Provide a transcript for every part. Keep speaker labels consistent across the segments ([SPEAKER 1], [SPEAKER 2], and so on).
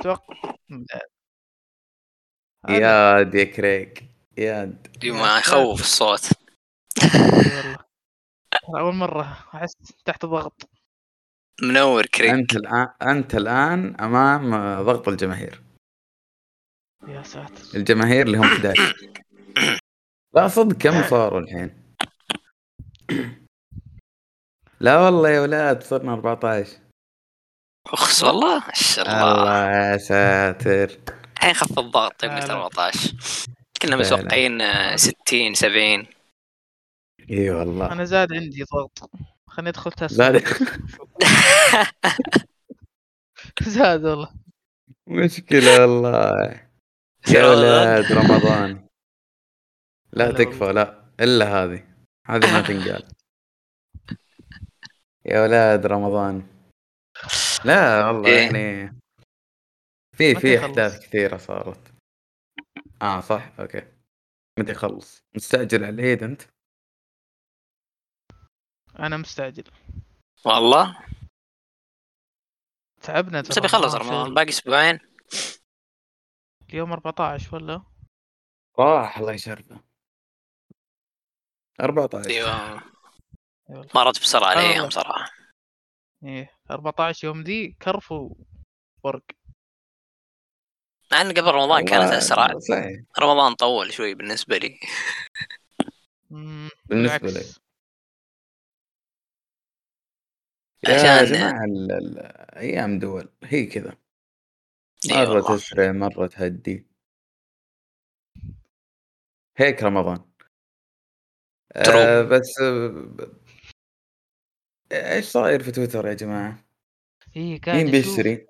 [SPEAKER 1] أتوقع لا. هذا
[SPEAKER 2] ياد يا كريك ياد
[SPEAKER 3] دي ما يخوف الصوت
[SPEAKER 1] اي والله أنا أول مرة أحس تحت ضغط
[SPEAKER 3] منور كريك
[SPEAKER 2] انت الان انت الان امام ضغط الجماهير
[SPEAKER 1] يا ساتر
[SPEAKER 2] الجماهير اللي هم 11 لا صدق كم صاروا الحين لا والله يا ولاد صرنا 14
[SPEAKER 3] اخس والله ما شاء الله
[SPEAKER 2] الله يا ساتر
[SPEAKER 3] الحين خف الضغط يوم
[SPEAKER 1] لا، لا.
[SPEAKER 3] 14 كنا
[SPEAKER 2] فعلا.
[SPEAKER 3] متوقعين آه، 60 70
[SPEAKER 2] اي والله
[SPEAKER 1] أنا زاد عندي ضغط خليني أدخل تسلا
[SPEAKER 2] زاد
[SPEAKER 1] زاد والله
[SPEAKER 2] مشكلة والله يا ولاد رمضان لا
[SPEAKER 1] هلا
[SPEAKER 2] تكفى لا الا هذه هذه ما تنقال يا ولاد رمضان لا والله
[SPEAKER 3] إيه.
[SPEAKER 2] يعني في
[SPEAKER 1] متى
[SPEAKER 2] في
[SPEAKER 1] يخلص؟
[SPEAKER 2] احداث كثيره صارت اه صح اوكي متى يخلص مستعجل على العيد انت
[SPEAKER 1] أنا مستعجل
[SPEAKER 3] والله
[SPEAKER 1] تعبنا ترى
[SPEAKER 3] بس بيخلص
[SPEAKER 1] ما في
[SPEAKER 3] رمضان باقي اسبوعين
[SPEAKER 1] شغل. اليوم 14 ولا
[SPEAKER 2] راح الله يشرفه 14
[SPEAKER 3] ايوه
[SPEAKER 1] إي والله.
[SPEAKER 3] مرت
[SPEAKER 2] آه.
[SPEAKER 3] بسرعه
[SPEAKER 1] الله.
[SPEAKER 3] الايام صراحه
[SPEAKER 1] ايه 14 يوم دي كرف وفرق
[SPEAKER 3] مع ان قبل رمضان كانت
[SPEAKER 2] والله
[SPEAKER 3] اسرع
[SPEAKER 2] صحيح
[SPEAKER 3] رمضان طول شوي بالنسبه لي
[SPEAKER 1] مم،
[SPEAKER 2] بالنسبه
[SPEAKER 1] بالعكس.
[SPEAKER 2] لي يا
[SPEAKER 3] عشان-
[SPEAKER 2] جماعة ال- ال- أيام دول هي كذا
[SPEAKER 3] إي
[SPEAKER 2] مرة
[SPEAKER 3] إيه والله.
[SPEAKER 2] تسرع مرة تهدي هيك رمضان آه
[SPEAKER 3] True.
[SPEAKER 2] بس آه، ب- ايش صاير في تويتر يا جماعة؟
[SPEAKER 1] ايه قاعد
[SPEAKER 2] مين
[SPEAKER 1] أشوف-
[SPEAKER 2] بيشتري؟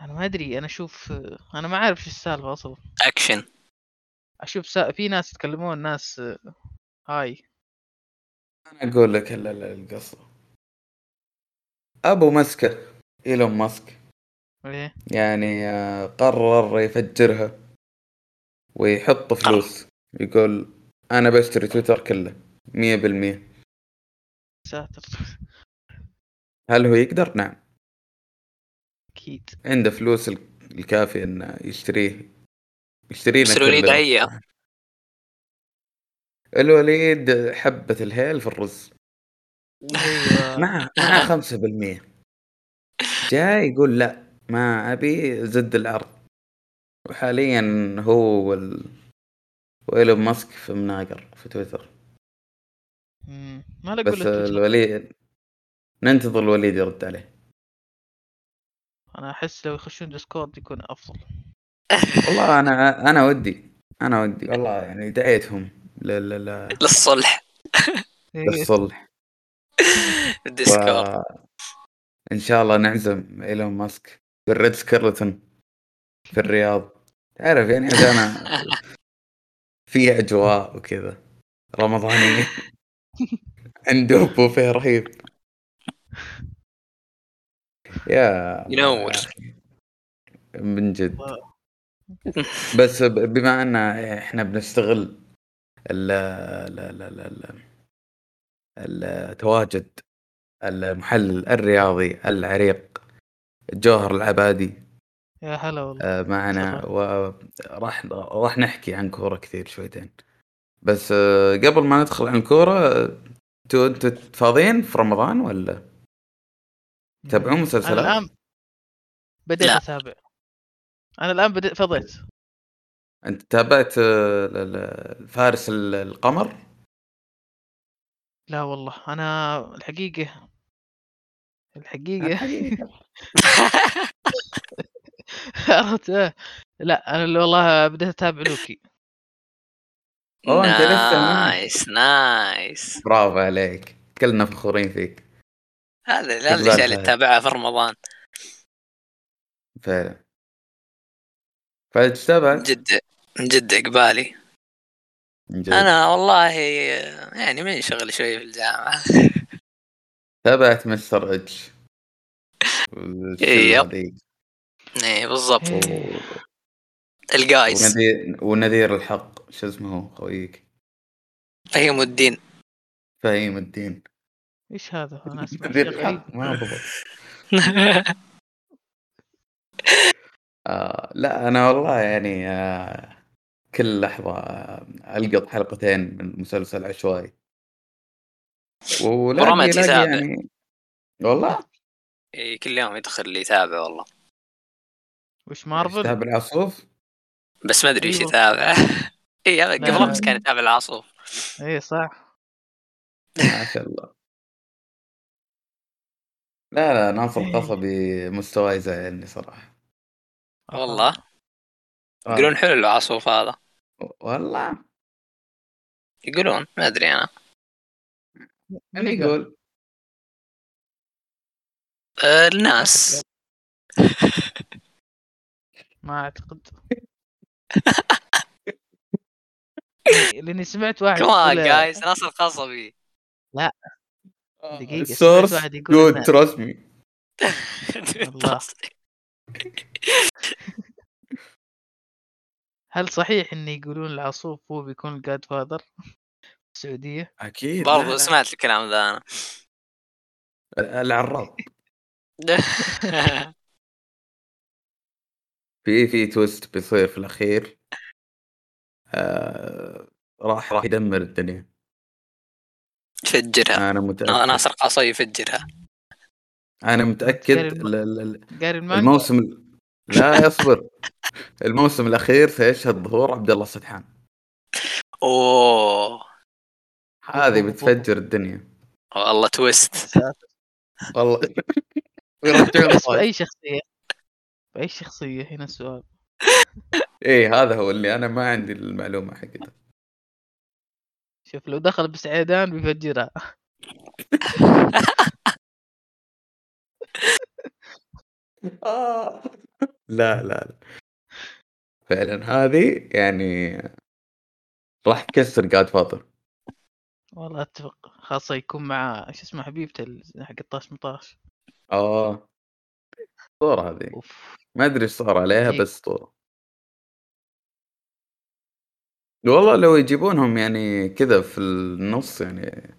[SPEAKER 1] انا ما ادري انا اشوف انا ما عارف شو السالفه اصلا
[SPEAKER 3] اكشن
[SPEAKER 1] اشوف سا... في ناس يتكلمون ناس آه، هاي
[SPEAKER 2] أنا أقول لك ال- ال- القصة أبو مسكة إيلون ماسك
[SPEAKER 1] ايه
[SPEAKER 2] يعني آه، قرر يفجرها ويحط فلوس يقول أنا بشتري تويتر كله 100%
[SPEAKER 1] ساتر
[SPEAKER 2] هل هو يقدر؟ نعم
[SPEAKER 1] اكيد
[SPEAKER 2] عنده فلوس ال- الكافية انه يشتريه يشتري لنا
[SPEAKER 3] يشتروا لي
[SPEAKER 2] كلنا.
[SPEAKER 3] دعية.
[SPEAKER 2] الوليد حبة الهيل في الرز
[SPEAKER 1] ايوه
[SPEAKER 2] مع مع 5% جاي يقول لا ما ابي زد العرض وحاليا هو وال... وإيلون ماسك في مناقر في تويتر
[SPEAKER 1] مم، ما لا اقول
[SPEAKER 2] بس
[SPEAKER 1] لك تويتر.
[SPEAKER 2] الوليد ننتظر الوليد يرد عليه
[SPEAKER 1] انا احس لو يخشون ديسكورد يكون افضل
[SPEAKER 2] والله انا انا ودي انا ودي والله يعني دعيتهم لل- لل-
[SPEAKER 3] للصلح
[SPEAKER 1] إيه،
[SPEAKER 2] للصلح
[SPEAKER 3] بالديسكورد
[SPEAKER 2] ان شاء الله نعزم ايلون ماسك في الريد سكرلتون في الرياض تعرف يعني عشان في اجواء وكذا رمضانيه عنده بوفيه رهيب يا الله
[SPEAKER 3] ينور.
[SPEAKER 2] يا أخي. من جد
[SPEAKER 1] والله.
[SPEAKER 2] بس ب- بما ان احنا بنستغل ال ال ال ال ال- التواجد المحلل الرياضي العريق جوهر العبادي
[SPEAKER 1] يا هلا والله
[SPEAKER 2] آه، معنا
[SPEAKER 1] تفضل.
[SPEAKER 2] وراح راح نحكي عن كوره كثير شويتين بس آه، قبل ما ندخل عن كوره انتوا انتوا فاضيين في رمضان ولا تتابعون
[SPEAKER 1] مم،
[SPEAKER 2] آه، مسلسلات؟
[SPEAKER 1] انا الان بديت
[SPEAKER 3] لا.
[SPEAKER 1] اتابع انا الان بديت فضيت
[SPEAKER 2] انت تابعت آه، ال- ال- فارس ال- القمر
[SPEAKER 1] لا والله انا الحقيقه الحقيقه عرفت إيه. لا انا اللي والله بديت اتابع لوكي
[SPEAKER 2] أوه، أنت لسه ما-
[SPEAKER 3] نايس نايس
[SPEAKER 2] برافو عليك كلنا فخورين فيك
[SPEAKER 3] هذا هذا
[SPEAKER 2] إقبال
[SPEAKER 3] الاشياء اللي
[SPEAKER 2] فهد.
[SPEAKER 3] تتابعها في رمضان
[SPEAKER 2] فعلا فتتابع
[SPEAKER 3] من جد من جد اقبالي
[SPEAKER 2] من
[SPEAKER 1] إيه.
[SPEAKER 2] جد.
[SPEAKER 3] انا والله يعني منشغل شوي في الجامعه
[SPEAKER 2] تابعت مستر اتش
[SPEAKER 3] إيه، يب. ايه بالضبط
[SPEAKER 1] إيه. يعني
[SPEAKER 3] الجايز
[SPEAKER 2] ونذير ونذير الحق شو اسمه هو خويك
[SPEAKER 3] فهيم الدين
[SPEAKER 2] فهيم الدين
[SPEAKER 1] ايش هذا انا اسمع شيء
[SPEAKER 2] نذير
[SPEAKER 1] غريب
[SPEAKER 2] الحق ما ضبط آه لا انا والله يعني آه كل لحظه آه القط حلقتين من مسلسل عشوائي ولاقي-
[SPEAKER 3] ورمت
[SPEAKER 2] لاقي
[SPEAKER 3] يتابع.
[SPEAKER 2] يعني والله
[SPEAKER 3] إيه، كل يوم يدخل اللي يتابع والله
[SPEAKER 1] وش مارفل؟
[SPEAKER 2] تابع العصوف
[SPEAKER 3] بس ما ادري ايش
[SPEAKER 1] أيوة.
[SPEAKER 3] يتابع اي هذا
[SPEAKER 1] لا،
[SPEAKER 3] قبل
[SPEAKER 2] لا.
[SPEAKER 3] امس كان يتابع العاصف
[SPEAKER 1] اي إيه، صح
[SPEAKER 2] ما شاء الله لا لا ناصر القصبي مستواه يزعلني صراحه
[SPEAKER 1] آه،
[SPEAKER 3] والله يقولون حلو العاصف هذا
[SPEAKER 2] آه، والله
[SPEAKER 3] يقولون ما ادري انا
[SPEAKER 2] من يقول
[SPEAKER 3] أه الناس
[SPEAKER 1] ما اعتقد لاني سمعت واحد
[SPEAKER 3] كمان
[SPEAKER 1] يقول-
[SPEAKER 3] جايز ناصر القصبي
[SPEAKER 1] دقيقة،
[SPEAKER 2] السورس
[SPEAKER 1] سمعت واحد يقول
[SPEAKER 2] جود
[SPEAKER 1] إنه-
[SPEAKER 2] تراست مي
[SPEAKER 1] والله. هل صحيح ان يقولون العصوف هو بيكون الجاد فاذر السعودية
[SPEAKER 2] اكيد
[SPEAKER 3] برضو سمعت الكلام ذا انا
[SPEAKER 2] العراض في إيه، في تويست بيصير في الاخير آه راح راح يدمر الدنيا
[SPEAKER 3] فجرها
[SPEAKER 2] انا
[SPEAKER 1] آه.
[SPEAKER 3] نا-
[SPEAKER 2] متاكد
[SPEAKER 3] ناصر القصبي يفجرها
[SPEAKER 2] انا متاكد
[SPEAKER 1] تذكر الم-
[SPEAKER 2] ال- ال- ال-
[SPEAKER 1] قاري المانجا
[SPEAKER 2] الموسم ال- لا يصبر الموسم الاخير سيشهد ظهور عبد الله السدحان
[SPEAKER 3] اوه
[SPEAKER 2] هذه بتفجر الدنيا
[SPEAKER 3] والله تويست
[SPEAKER 2] والله ويرجعون
[SPEAKER 1] بس
[SPEAKER 2] الراي.
[SPEAKER 1] بأي شخصية بأي شخصية هنا السؤال
[SPEAKER 2] ايه هذا هو اللي انا ما عندي المعلومه حقته
[SPEAKER 1] شوف لو دخل بسعيدان بيفجرها
[SPEAKER 2] لا لا لا فعلا هذه يعني راح تكسر جاد فاطر
[SPEAKER 1] والله اتفق خاصة يكون مع شو اسمه حبيبته ال- حق الطاش مطاش
[SPEAKER 2] اه اسطوره هذه
[SPEAKER 1] اوف
[SPEAKER 2] ما ادري ايش صار عليها
[SPEAKER 1] عجيب.
[SPEAKER 2] بس اسطوره والله لو يجيبونهم يعني كذا في النص يعني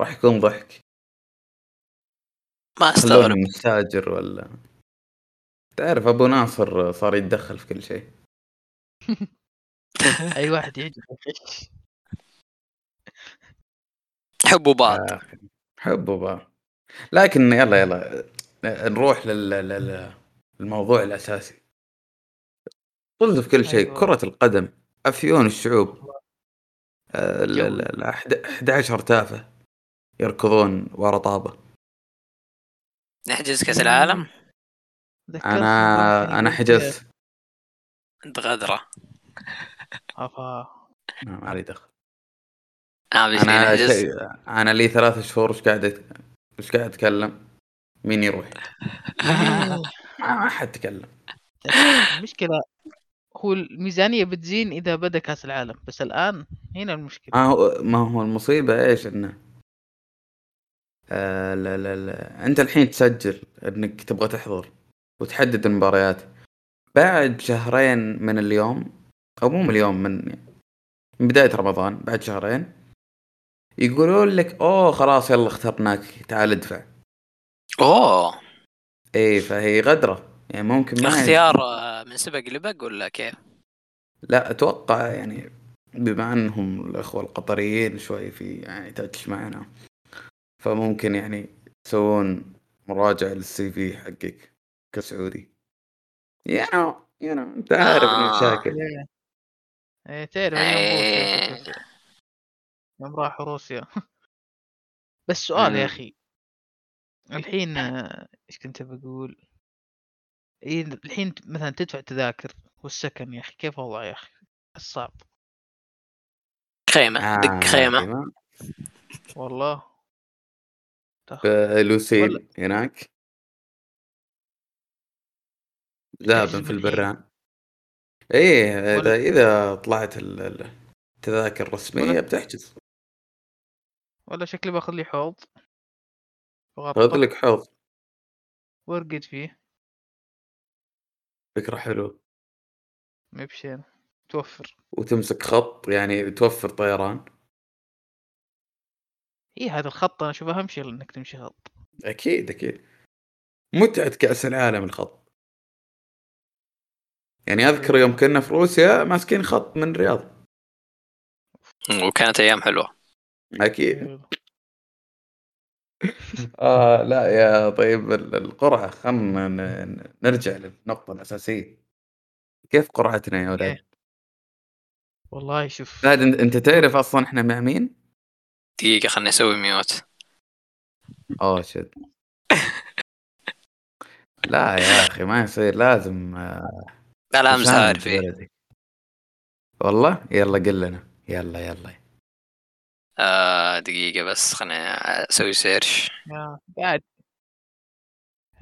[SPEAKER 2] راح يكون ضحك
[SPEAKER 3] ما استغرب
[SPEAKER 2] خلوني مستاجر ولا تعرف ابو ناصر صار يتدخل في كل شيء
[SPEAKER 1] اي واحد يعجبه يخش
[SPEAKER 3] حبوا بعض
[SPEAKER 2] آه، حبوا بعض لكن يلا يلا آه، نروح لل... لل... للموضوع الاساسي طز في كل شيء
[SPEAKER 1] أيوة.
[SPEAKER 2] كرة القدم افيون الشعوب آه، ال-
[SPEAKER 1] جو.
[SPEAKER 2] ال- ال- أحد- 11 تافه يركضون ورا طابه
[SPEAKER 3] نحجز كاس العالم
[SPEAKER 1] ذكرت مرة كان
[SPEAKER 2] انا انا
[SPEAKER 1] يقول فيها-
[SPEAKER 2] حجزت
[SPEAKER 3] انت غدره
[SPEAKER 1] أفا.
[SPEAKER 2] ما ما لي دخل
[SPEAKER 3] انا بشي
[SPEAKER 2] انا
[SPEAKER 3] آه، نحجز
[SPEAKER 2] شيء- انا لي ثلاثة شهور وش قاعد أت- وش قاعد اتكلم مين يروح ما ما حد تكلم
[SPEAKER 1] المشكلة هو الميزانية بتزين إذا بدأ كأس العالم بس الآن هنا المشكلة
[SPEAKER 2] ما هو ما هو المصيبة ايش انه آه لا لا لا انت الحين تسجل انك تبغى تحضر وتحدد المباريات بعد شهرين من اليوم او مو من اليوم من من بداية رمضان بعد شهرين يقولون لك اوه خلاص يلا اخترناك تعال ادفع
[SPEAKER 3] اوه
[SPEAKER 2] اي فهي غدرة يعني ممكن ما
[SPEAKER 3] اختيار آه، من سبق لبق ولا كيف؟
[SPEAKER 2] لا اتوقع يعني بما انهم الاخوه القطريين شوي في يعني تاتش معنا فممكن يعني تسوون مراجعه للسي في حقك كسعودي يا نو يا نو انت عارف
[SPEAKER 3] آه.
[SPEAKER 2] المشاكل
[SPEAKER 1] إيه تعرف
[SPEAKER 3] إيه.
[SPEAKER 1] اليوم روسيا يوم راحوا روسيا بس سؤال يا
[SPEAKER 2] مم.
[SPEAKER 1] أخي الحين آه، إيش كنت بقول إيه الحين ت- مثلا تدفع تذاكر والسكن يا أخي كيف والله يا أخي الصعب
[SPEAKER 3] خيمه
[SPEAKER 2] آه،
[SPEAKER 3] دق خيمه
[SPEAKER 2] تمام.
[SPEAKER 1] والله تخ-
[SPEAKER 2] فلوسيل
[SPEAKER 1] ولا-
[SPEAKER 2] هناك ذابا
[SPEAKER 1] تحجز
[SPEAKER 2] في
[SPEAKER 1] من
[SPEAKER 2] البران ايه
[SPEAKER 1] ولا-
[SPEAKER 2] اذا اذا طلعت ال- ال- التذاكر الرسميه
[SPEAKER 1] ولا-
[SPEAKER 2] بتحجز
[SPEAKER 1] ولا شكلي باخذ لي حوض
[SPEAKER 2] خذ
[SPEAKER 1] وغطى
[SPEAKER 2] لك حوض
[SPEAKER 1] وارقد فيه
[SPEAKER 2] فكره حلوه
[SPEAKER 1] مبشين توفر
[SPEAKER 2] وتمسك خط يعني توفر طيران
[SPEAKER 1] اي إيه، هذا الخط انا اشوف اهم شيء انك تمشي خط
[SPEAKER 2] اكيد اكيد متعه كاس العالم الخط يعني اذكر يوم كنا في روسيا ماسكين خط من الرياض
[SPEAKER 3] وكانت ايام حلوه
[SPEAKER 2] اكيد آه لا يا طيب ال- القرعه خلنا ن- ن- نرجع للنقطه الاساسيه كيف قرعتنا يا اولاد؟
[SPEAKER 1] والله شوف
[SPEAKER 2] زاد أنت- انت تعرف اصلا احنا مع مين؟
[SPEAKER 3] دقيقه خلني اسوي ميوت
[SPEAKER 2] اوه شد لا يا اخي ما يصير لازم آه،
[SPEAKER 3] لا لا امس
[SPEAKER 2] تساند
[SPEAKER 3] عارف إيه.
[SPEAKER 2] بلدك. والله يلا قل لنا يلا يلا
[SPEAKER 3] آه دقيقه بس خلني اسوي سيرش
[SPEAKER 1] آه، قاعد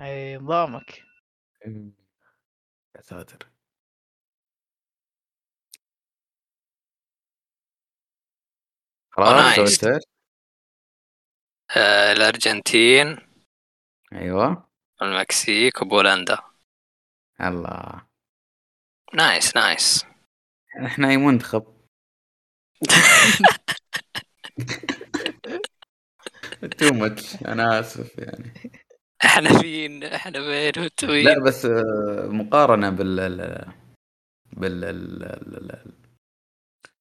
[SPEAKER 1] اي نظامك
[SPEAKER 2] يا ساتر خلاص
[SPEAKER 3] نايس.
[SPEAKER 2] سويت إيش؟
[SPEAKER 3] آه الارجنتين
[SPEAKER 2] ايوه
[SPEAKER 3] المكسيك وبولندا
[SPEAKER 2] الله
[SPEAKER 3] نايس نايس
[SPEAKER 2] احنا اي منتخب تو ماتش انا اسف يعني
[SPEAKER 3] احنا فين احنا فين وانتوا
[SPEAKER 2] لا
[SPEAKER 1] طيب.
[SPEAKER 3] وين
[SPEAKER 2] بس آه، مقارنه بال ال- بال ال- ال- ال-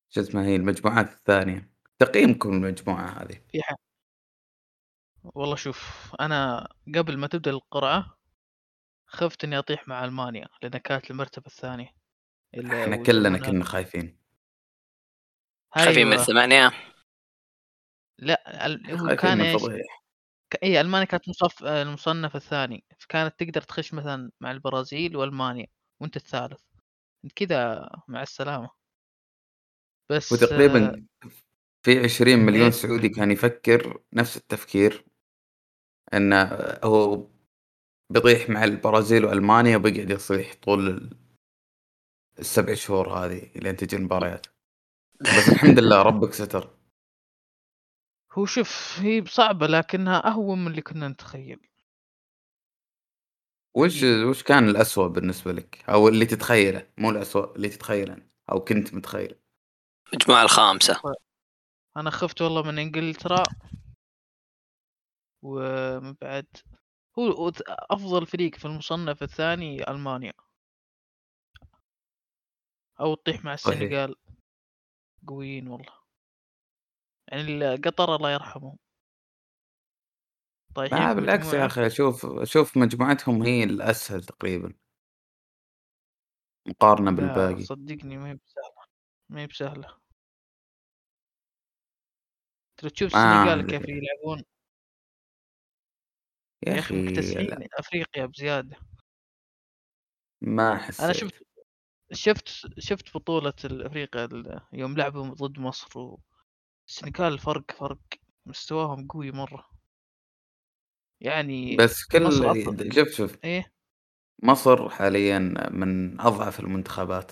[SPEAKER 2] شو اسمها هي المجموعات الثانيه تقييمكم المجموعه هذه
[SPEAKER 1] في حق والله شوف انا قبل ما تبدا القرعه خفت اني اطيح مع المانيا لانها كانت المرتبه الثانيه اللي-
[SPEAKER 2] احنا كلنا
[SPEAKER 1] ويسمونها-
[SPEAKER 2] كنا خايفين
[SPEAKER 3] خفي من
[SPEAKER 1] أيوة.
[SPEAKER 3] الثمانيه
[SPEAKER 1] لا ال- هو
[SPEAKER 2] خايفين
[SPEAKER 1] كان
[SPEAKER 2] من
[SPEAKER 1] ايش
[SPEAKER 2] فضيحه
[SPEAKER 1] ك- اي المانيا كانت مصف... آه، المصنف الثاني فكانت تقدر تخش مثلا مع البرازيل والمانيا وانت الثالث انت كذا مع السلامه بس آه،
[SPEAKER 2] وتقريبا في 20 مليون
[SPEAKER 1] إيه؟
[SPEAKER 2] سعودي كان يفكر نفس التفكير انه هو بيطيح مع البرازيل والمانيا وبيقعد يصيح طول ال- السبع شهور هذه لين تجي المباريات بس الحمد لله ربك ستر
[SPEAKER 1] هو شوف هي صعبه لكنها اهون من اللي كنا نتخيل
[SPEAKER 2] وش وش كان الأسوأ بالنسبه لك او اللي تتخيله مو الأسوأ اللي تتخيله او كنت متخيله
[SPEAKER 3] المجموعه الخامسه
[SPEAKER 1] انا خفت والله من انجلترا ومن بعد هو هو افضل فريق في المصنف الثاني المانيا او تطيح مع
[SPEAKER 2] صحيح.
[SPEAKER 1] السنغال قويين والله يعني ال- قطر الله يرحمه طيب
[SPEAKER 2] لا بالعكس يا اخي اشوف اشوف مجموعتهم هي الاسهل تقريبا مقارنه بالباقي
[SPEAKER 1] صدقني ما هي بسهله ما هي بسهله ترى تشوف
[SPEAKER 2] ما
[SPEAKER 1] السنغال
[SPEAKER 2] أدري.
[SPEAKER 1] كيف يلعبون
[SPEAKER 2] يا
[SPEAKER 1] يا اخي
[SPEAKER 2] اخي
[SPEAKER 1] مكتسحين
[SPEAKER 2] لا،
[SPEAKER 1] افريقيا بزياده
[SPEAKER 2] ما احس
[SPEAKER 1] انا شفت شفت شفت بطولة افريقيا ال- يوم لعبوا ضد مصر والسنغال فرق فرق مستواهم قوي مرة يعني
[SPEAKER 2] بس كل
[SPEAKER 1] مصر أفضل.
[SPEAKER 2] شوف شوف
[SPEAKER 1] ايه
[SPEAKER 2] مصر حاليا من اضعف المنتخبات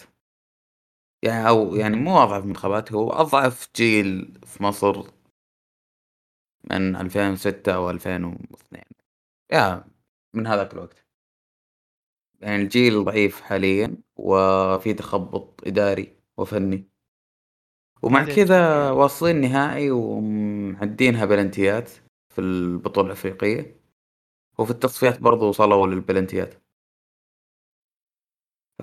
[SPEAKER 2] يعني او يعني مو اضعف المنتخبات هو اضعف جيل في مصر من 2006 او 2002 يا من هذاك الوقت يعني الجيل ضعيف حاليا وفي تخبط اداري وفني ومع
[SPEAKER 1] بعدين.
[SPEAKER 2] كذا واصلين نهائي ومعدينها بلنتيات في البطولة الأفريقية وفي التصفيات برضو وصلوا للبلنتيات ف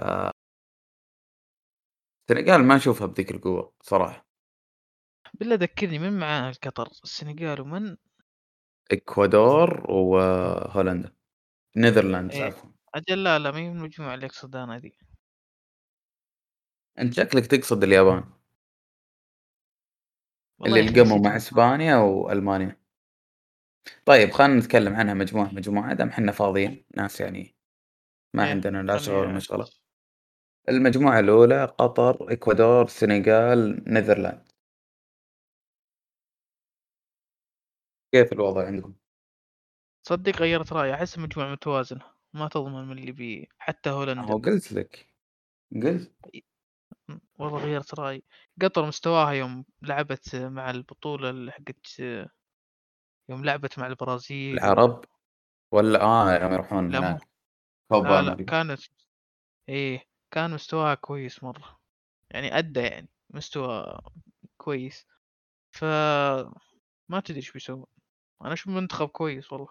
[SPEAKER 2] السنغال ما أشوفها بذيك القوة صراحة
[SPEAKER 1] بالله ذكرني من معاه القطر السنغال ومن
[SPEAKER 2] إكوادور وهولندا نيذرلاندز
[SPEAKER 1] إيه.
[SPEAKER 2] عفوا
[SPEAKER 1] اجل لا لا ما هي من المجموعة اللي اقصدها انا ذي
[SPEAKER 2] أنت شكلك تقصد اليابان
[SPEAKER 1] والله
[SPEAKER 2] اللي
[SPEAKER 1] يا أخي
[SPEAKER 2] القموا
[SPEAKER 1] نسيت
[SPEAKER 2] مع
[SPEAKER 1] اسمها.
[SPEAKER 2] إسبانيا وألمانيا طيب خلينا نتكلم عنها مجموعة مجموعة دام احنا فاضيين ناس يعني ما
[SPEAKER 1] إيه،
[SPEAKER 2] عندنا لا
[SPEAKER 1] خلني
[SPEAKER 2] شغل ولا
[SPEAKER 1] أعرف.
[SPEAKER 2] مشغلة المجموعة الأولى قطر، إكوادور، السنغال، نيذرلاند. كيف الوضع عندكم؟
[SPEAKER 1] تصدق غيرت رايي احس مجموعة متوازنة ما تضمن من اللي بي حتى هولندا
[SPEAKER 2] هو قلت لك قلت
[SPEAKER 1] م- والله غيرت رأيي قطر مستواها يوم لعبت مع البطولة اللي حقت يوم لعبت مع البرازيل
[SPEAKER 2] العرب ولا اه لما يروحون
[SPEAKER 1] لا، مو-
[SPEAKER 2] هناك كوبا
[SPEAKER 1] لا لا
[SPEAKER 2] أمريكا.
[SPEAKER 1] كانت ايه كان مستواها كويس مرة يعني أدى يعني مستوى كويس ف ما تدري ايش بيسوي انا اشوف منتخب كويس والله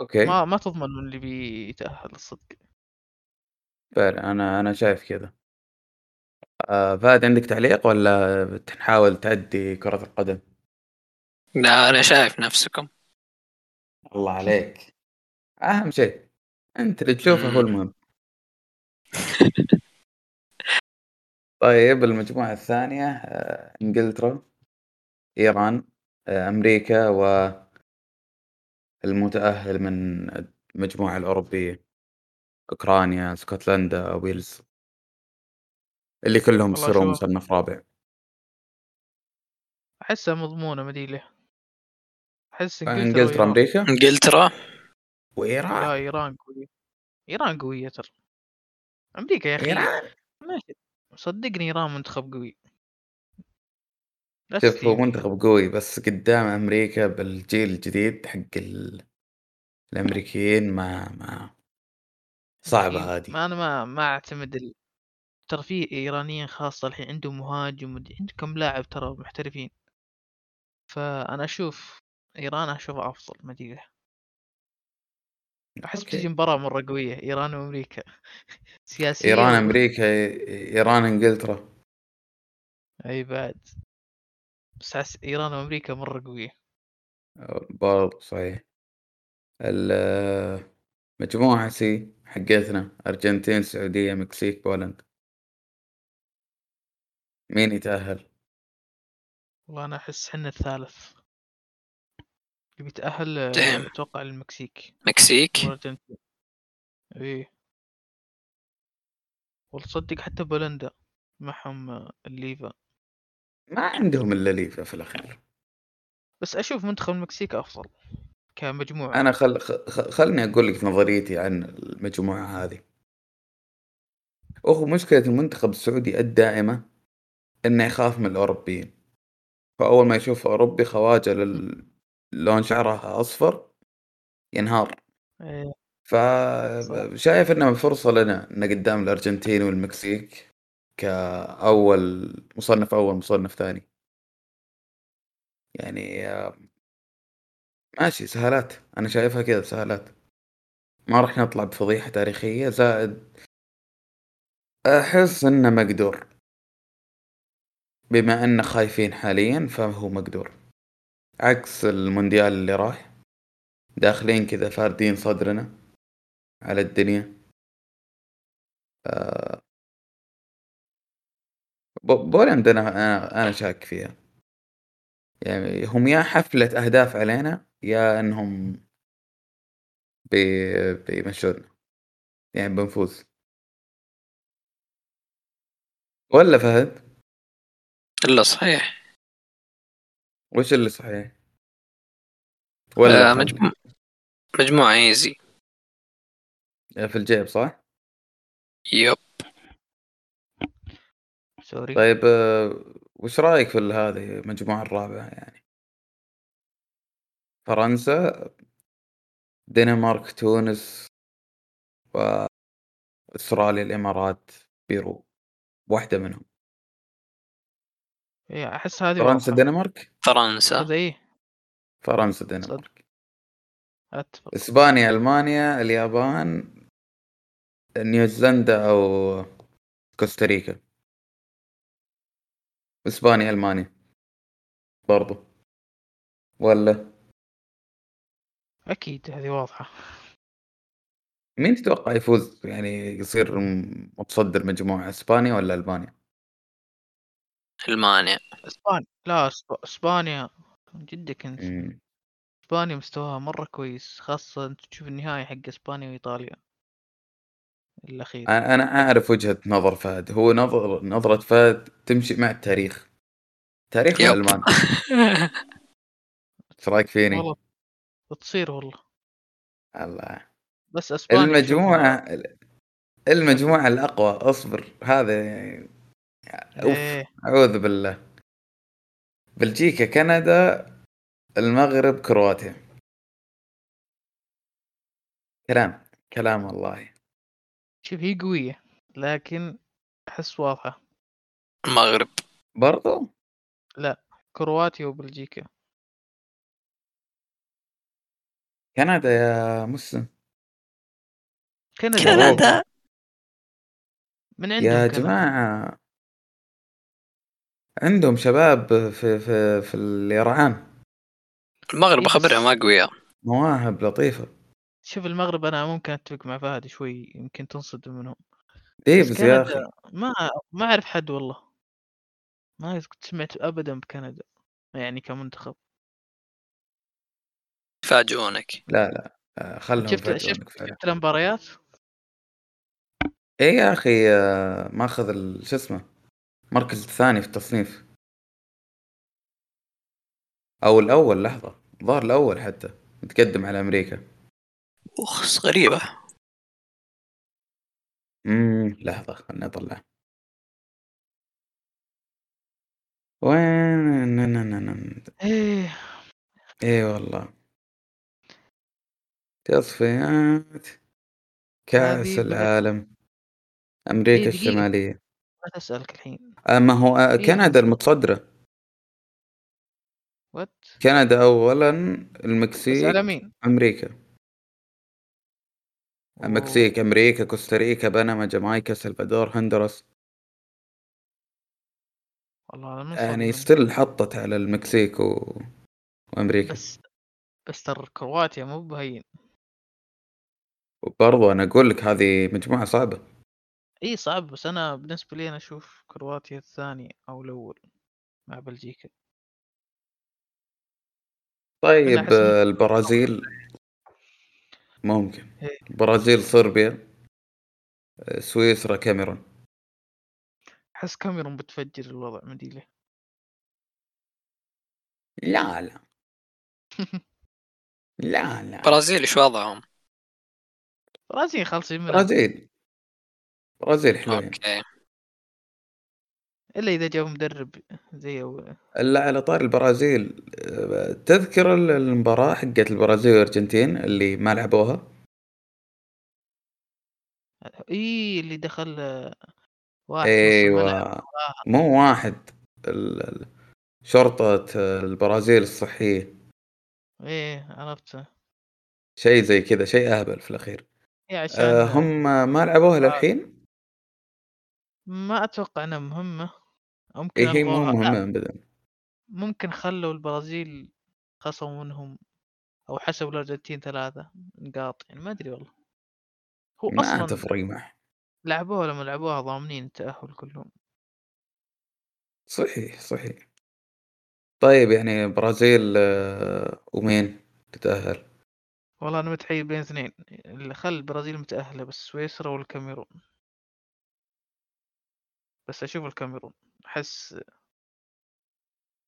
[SPEAKER 2] اوكي إيه.
[SPEAKER 1] ما ما تضمن من اللي بيتأهل الصدق
[SPEAKER 2] فعلا انا انا شايف كذا آه، فهد عندك تعليق ولا بتحاول تأدي كرة القدم؟
[SPEAKER 3] لا انا شايف نفسكم
[SPEAKER 2] الله عليك اهم شيء انت اللي تشوفه
[SPEAKER 1] إمم.
[SPEAKER 2] هو
[SPEAKER 3] مم.
[SPEAKER 2] المهم طيب المجموعه الثانيه آه، انجلترا ايران آه، امريكا و المتاهل من المجموعه الاوروبيه اوكرانيا اسكتلندا ويلز اللي كلهم
[SPEAKER 1] والله
[SPEAKER 2] بيصيروا
[SPEAKER 1] شوف.
[SPEAKER 2] مصنف رابع
[SPEAKER 1] احسها مضمونه مديله احس
[SPEAKER 2] انجلترا
[SPEAKER 1] وإيران.
[SPEAKER 2] امريكا
[SPEAKER 3] انجلترا
[SPEAKER 1] لا
[SPEAKER 2] وايران
[SPEAKER 1] ايران قويه ايران قويه ترى امريكا يا اخي
[SPEAKER 2] ايران
[SPEAKER 1] ماشي صدقني ايران منتخب قوي يعني لا
[SPEAKER 2] شوف هو
[SPEAKER 1] تستهين.
[SPEAKER 2] منتخب قوي بس قدام امريكا بالجيل الجديد حق ال... الامريكيين ما ما
[SPEAKER 1] أكيد.
[SPEAKER 2] صعبه هذه
[SPEAKER 1] يعني إيه، ما انا ما ما اعتمد ال... ترى في ايرانيين خاصه الحين عندهم مهاجم ود- عندهم كم لاعب ترى محترفين فانا اشوف ايران اشوفها افضل مدينه احس
[SPEAKER 2] أوكي.
[SPEAKER 1] بتجي مباراه مره قويه ايران وامريكا سياسيه
[SPEAKER 2] ايران
[SPEAKER 1] و-
[SPEAKER 2] امريكا ايران انجلترا
[SPEAKER 1] اي بعد بس احس ايران وامريكا مره قويه
[SPEAKER 2] برضو صحيح ال- مجموعة سي حقتنا أرجنتين السعودية مكسيك بولند مين يتأهل؟
[SPEAKER 1] والله انا احس حنا الثالث اللي بيتاهل آه،
[SPEAKER 3] Damn.
[SPEAKER 1] اتوقع المكسيك
[SPEAKER 3] مكسيك
[SPEAKER 1] والارجنتين ايه والله تصدق حتى بولندا معهم آه، الليفا
[SPEAKER 2] ما عندهم إلا ليفا في الأخير
[SPEAKER 1] بس اشوف منتخب المكسيك افضل كمجموعه
[SPEAKER 2] أنا خل... خ- خ- خلني أقول لك نظريتي عن المجموعة هذه أخو مشكلة المنتخب السعودي الدائمة إنه يخاف من الأوروبيين فأول ما يشوف أوروبي خواجة لل... لون شعره أصفر ينهار
[SPEAKER 1] إيه.
[SPEAKER 2] فشايف انها فرصه لنا ان قدام الارجنتين والمكسيك كاول مصنف اول مصنف ثاني يعني آه، ماشي سهالات انا شايفها كذا سهالات ما راح نطلع بفضيحه تاريخيه زائد احس انه مقدور بما ان خايفين حاليا فهو مقدور عكس المونديال اللي راح داخلين كذا فاردين صدرنا على الدنيا آه، بو- بولند انا انا أنا شاك فيها يعني هم يا حفلة أهداف علينا يا إنهم بي... بيمشونا يعني بنفوز ولا فهد
[SPEAKER 3] الا صحيح
[SPEAKER 2] وش اللي صحيح؟
[SPEAKER 3] آه
[SPEAKER 2] ولا مجموع.
[SPEAKER 3] مجموعة آه، مجموعة ايزي
[SPEAKER 2] في الجيب صح؟
[SPEAKER 3] يب
[SPEAKER 1] سوري
[SPEAKER 2] طيب آه، وش رأيك في ال- هذه المجموعة الرابعة يعني؟ فرنسا دنمارك تونس وأستراليا الإمارات بيرو واحدة منهم
[SPEAKER 1] إيه احس هذه
[SPEAKER 2] فرنسا
[SPEAKER 1] واضحة.
[SPEAKER 2] دنمارك
[SPEAKER 3] فرنسا
[SPEAKER 1] هذا ايه
[SPEAKER 2] فرنسا دنمارك
[SPEAKER 1] اتفق
[SPEAKER 2] اسبانيا المانيا اليابان نيوزيلندا او كوستاريكا اسبانيا المانيا برضو ولا
[SPEAKER 1] اكيد هذه واضحه
[SPEAKER 2] مين تتوقع يفوز يعني يصير م- متصدر مجموعة اسبانيا ولا المانيا
[SPEAKER 3] المانيا
[SPEAKER 1] اسبانيا لا إسب- اسبانيا جدك انت
[SPEAKER 2] مم.
[SPEAKER 1] اسبانيا مستواها مره كويس خاصه انت تشوف النهائي حق اسبانيا وايطاليا الاخير
[SPEAKER 2] أ- انا اعرف وجهة نظر فهد هو نظر نظرة فهد تمشي مع التاريخ تاريخ
[SPEAKER 3] يب.
[SPEAKER 2] الالمان ايش رايك فيني
[SPEAKER 1] والله تصير والله
[SPEAKER 2] الله
[SPEAKER 1] بس اسبانيا
[SPEAKER 2] المجموعة
[SPEAKER 1] أشوفها-
[SPEAKER 2] المجموعة الاقوى اصبر هذا يعني اوف
[SPEAKER 1] ايه
[SPEAKER 2] اعوذ بالله بلجيكا كندا المغرب كرواتيا كلام كلام والله
[SPEAKER 1] شوف هي قويه لكن احس واضحه
[SPEAKER 3] المغرب
[SPEAKER 2] برضو
[SPEAKER 1] كرواتيا وبلجيكا
[SPEAKER 2] كندا يا مسلم
[SPEAKER 1] كندا
[SPEAKER 2] كندا.
[SPEAKER 1] واضحة. من عندهم
[SPEAKER 2] يا
[SPEAKER 1] كلام.
[SPEAKER 2] جماعه عندهم شباب في في في اليرعان
[SPEAKER 3] المغرب
[SPEAKER 1] إيه بس-
[SPEAKER 3] اخبرهم اقوياء
[SPEAKER 2] مواهب لطيفه
[SPEAKER 1] شوف المغرب انا ممكن اتفق مع فهد شوي يمكن تنصدم منهم
[SPEAKER 2] اي
[SPEAKER 1] بس
[SPEAKER 2] بس يا اخي
[SPEAKER 1] كندا ما ما اعرف حد والله ما كنت سمعت ابدا بكندا يعني كمنتخب
[SPEAKER 3] يفاجئونك
[SPEAKER 2] لا لا آه، خلهم
[SPEAKER 1] شفت
[SPEAKER 2] يفاجئونك
[SPEAKER 1] شفت
[SPEAKER 2] فعلا.
[SPEAKER 1] شفت المباريات
[SPEAKER 2] اي إيه يا اخي آه، ماخذ ال- شو اسمه المركز الثاني في التصنيف او الاول لحظه ظهر الاول حتى متقدم على امريكا
[SPEAKER 3] اخس غريبه
[SPEAKER 2] امم لحظه خلنا اطلع وين ن- ن- ن- ن-
[SPEAKER 1] ايه
[SPEAKER 2] اي والله تصفيات كاس
[SPEAKER 1] هذه بعد-
[SPEAKER 2] العالم امريكا
[SPEAKER 1] إيه، دقيقة.
[SPEAKER 2] الشماليه
[SPEAKER 1] ما تسالك الحين
[SPEAKER 2] ما هو آه،
[SPEAKER 1] إيه.
[SPEAKER 2] كندا المتصدره
[SPEAKER 1] وات
[SPEAKER 2] كندا اولا
[SPEAKER 1] بس على
[SPEAKER 2] المكسيك
[SPEAKER 1] مين؟
[SPEAKER 2] امريكا
[SPEAKER 1] أوه.
[SPEAKER 2] المكسيك امريكا كوستاريكا بنما جامايكا سلفادور هندوراس
[SPEAKER 1] والله أنا ما
[SPEAKER 2] يعني
[SPEAKER 1] صدق
[SPEAKER 2] ستيل حطت على المكسيك و...
[SPEAKER 1] منك.
[SPEAKER 2] وامريكا
[SPEAKER 1] بس بس ترى كرواتيا مو بهين
[SPEAKER 2] وبرضه انا اقول لك هذه مجموعه صعبه
[SPEAKER 1] اي صعب بس انا بالنسبه لي انا اشوف كرواتيا الثاني او الاول مع بلجيكا أنا
[SPEAKER 2] طيب
[SPEAKER 1] أحس إنه-
[SPEAKER 2] آه، البرازيل ممكن
[SPEAKER 1] إيه.
[SPEAKER 2] البرازيل صربيا آه، سويسرا كاميرون
[SPEAKER 1] احس كاميرون بتفجر الوضع ما ادري ليه
[SPEAKER 2] لا لا لا
[SPEAKER 1] طيب.
[SPEAKER 2] لا
[SPEAKER 3] البرازيل ايش وضعهم؟
[SPEAKER 1] برازيل خالصين منها
[SPEAKER 2] برازيل برازيل حلوين
[SPEAKER 3] اوكي
[SPEAKER 1] الا اذا جاب مدرب زي أو...
[SPEAKER 2] لا على طار البرازيل آه، تذكر ال- المباراه حقت البرازيل والارجنتين اللي ما لعبوها
[SPEAKER 1] اي اللي دخل آه، واحد نص الملعب.
[SPEAKER 2] ايوه مو واحد ال- ال- شرطة البرازيل الصحية
[SPEAKER 1] ايه عرفته
[SPEAKER 2] شيء زي كذا شيء اهبل في الاخير
[SPEAKER 1] إيه عشان
[SPEAKER 2] آه هم ما
[SPEAKER 3] آه،
[SPEAKER 2] لعبوها للحين
[SPEAKER 1] ما اتوقع انها مهمه أو ممكن
[SPEAKER 2] إيه هي مو
[SPEAKER 1] أخبار-
[SPEAKER 2] مهمة ابدا
[SPEAKER 1] ممكن خلوا البرازيل خصموا منهم او حسبوا الارجنتين ثلاثة نقاط يعني ما ادري والله هو
[SPEAKER 2] ما
[SPEAKER 1] اصلا
[SPEAKER 2] تفرق معه
[SPEAKER 1] لعبوها لما لعبوها ضامنين التاهل كلهم
[SPEAKER 2] صحيح صحيح طيب يعني برازيل آه، ومين تتأهل
[SPEAKER 1] والله انا متحير بين اثنين اللي خل البرازيل متاهله بس سويسرا والكاميرون بس اشوف الكاميرون احس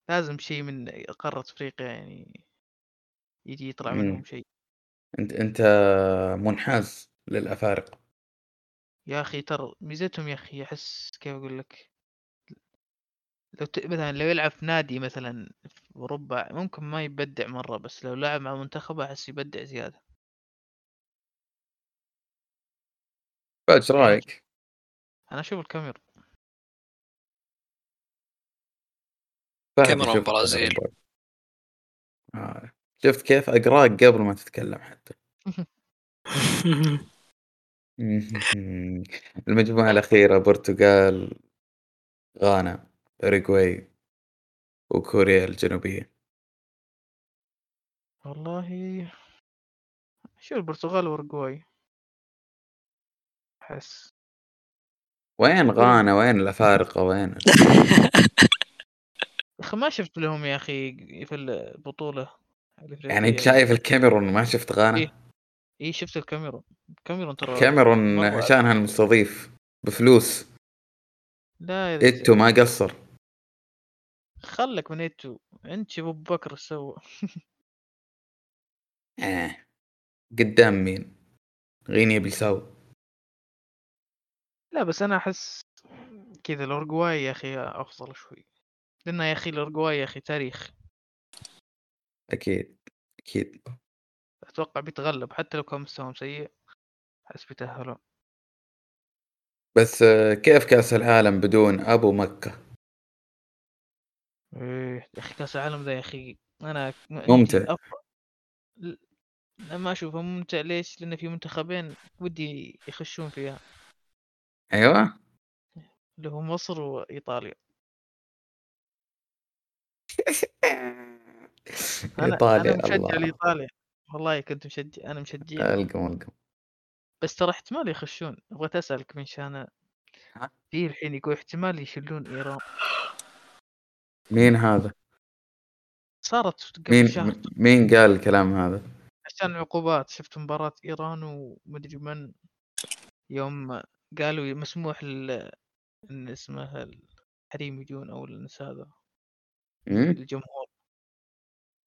[SPEAKER 1] لازم شيء من قاره افريقيا يعني يجي يطلع
[SPEAKER 2] مم.
[SPEAKER 1] منهم شيء
[SPEAKER 2] انت انت منحاز للافارقة
[SPEAKER 1] يا اخي ترى ميزتهم يا اخي احس كيف اقول لك لو ت... مثلا لو يلعب في نادي مثلا في اوروبا ممكن ما يبدع مره بس لو لعب مع منتخبه احس يبدع زياده
[SPEAKER 2] فايش رايك؟
[SPEAKER 1] انا اشوف الكاميرون
[SPEAKER 2] فهد
[SPEAKER 3] كاميرون
[SPEAKER 2] يشوف
[SPEAKER 3] برازيل.
[SPEAKER 2] الكاميرون. آه، شفت كيف اقراك قبل ما تتكلم حتى مهم. المجموعة الأخيرة برتغال غانا أوريغواي وكوريا الجنوبية
[SPEAKER 1] والله شو البرتغال واورجواي احس
[SPEAKER 2] وين غانا وين الأفارقة وين
[SPEAKER 1] يا اخي ما شفت لهم يا اخي في البطوله
[SPEAKER 2] يعني أنت شايف الكاميرون وما شفت غانا
[SPEAKER 1] إيه. اي شفت الكاميرون الكاميرون ترى
[SPEAKER 2] الكاميرون
[SPEAKER 1] مرة- إيه،
[SPEAKER 2] عشانها المستضيف بفلوس
[SPEAKER 1] لا يا ذا
[SPEAKER 2] إتو ما قصر
[SPEAKER 1] خلك من ايتو انت شوف ابو بكر إيش سوى
[SPEAKER 2] آه. قدام مين غينيا بيساو
[SPEAKER 1] لا بس انا احس كذا الاورجواي يا اخي افضل شوي لان يا اخي الاورجواي يا اخي تاريخ
[SPEAKER 2] أكيد أكيد
[SPEAKER 1] اتوقع بيتغلب حتى لو كان مستواهم سيء احس بيتاهلون
[SPEAKER 2] بس آه، كيف كأس العالم بدون أبو مكة
[SPEAKER 1] ايه يا اخي كاس العالم ذا يا اخي انا ما-
[SPEAKER 2] ممتع.
[SPEAKER 1] يمكن أف- ل- أنا ما اشوفه ممتع ليش؟ لان في منتخبين ودي يخشون فيها
[SPEAKER 2] أيوة
[SPEAKER 1] اللي هو مصر وايطاليا انا
[SPEAKER 2] ايطاليا
[SPEAKER 1] انا مشجع
[SPEAKER 2] الله
[SPEAKER 1] لايطاليا والله كنت مشجع انا مشجع
[SPEAKER 2] القم القم
[SPEAKER 1] بس ترى احتمال يخشون بغيت اسالك من شان
[SPEAKER 2] ها؟
[SPEAKER 1] في الحين يقول احتمال يشيلون ايران
[SPEAKER 2] مين هذا؟
[SPEAKER 1] صارت
[SPEAKER 2] مين
[SPEAKER 1] قبل شهر
[SPEAKER 2] مين قال الكلام هذا؟
[SPEAKER 1] عشان العقوبات شفت مباراة إيران ومدري من يوم قالوا مسموح ل إن اسمه الحريم يجون أو الناس هذا
[SPEAKER 2] مم؟
[SPEAKER 1] الجمهور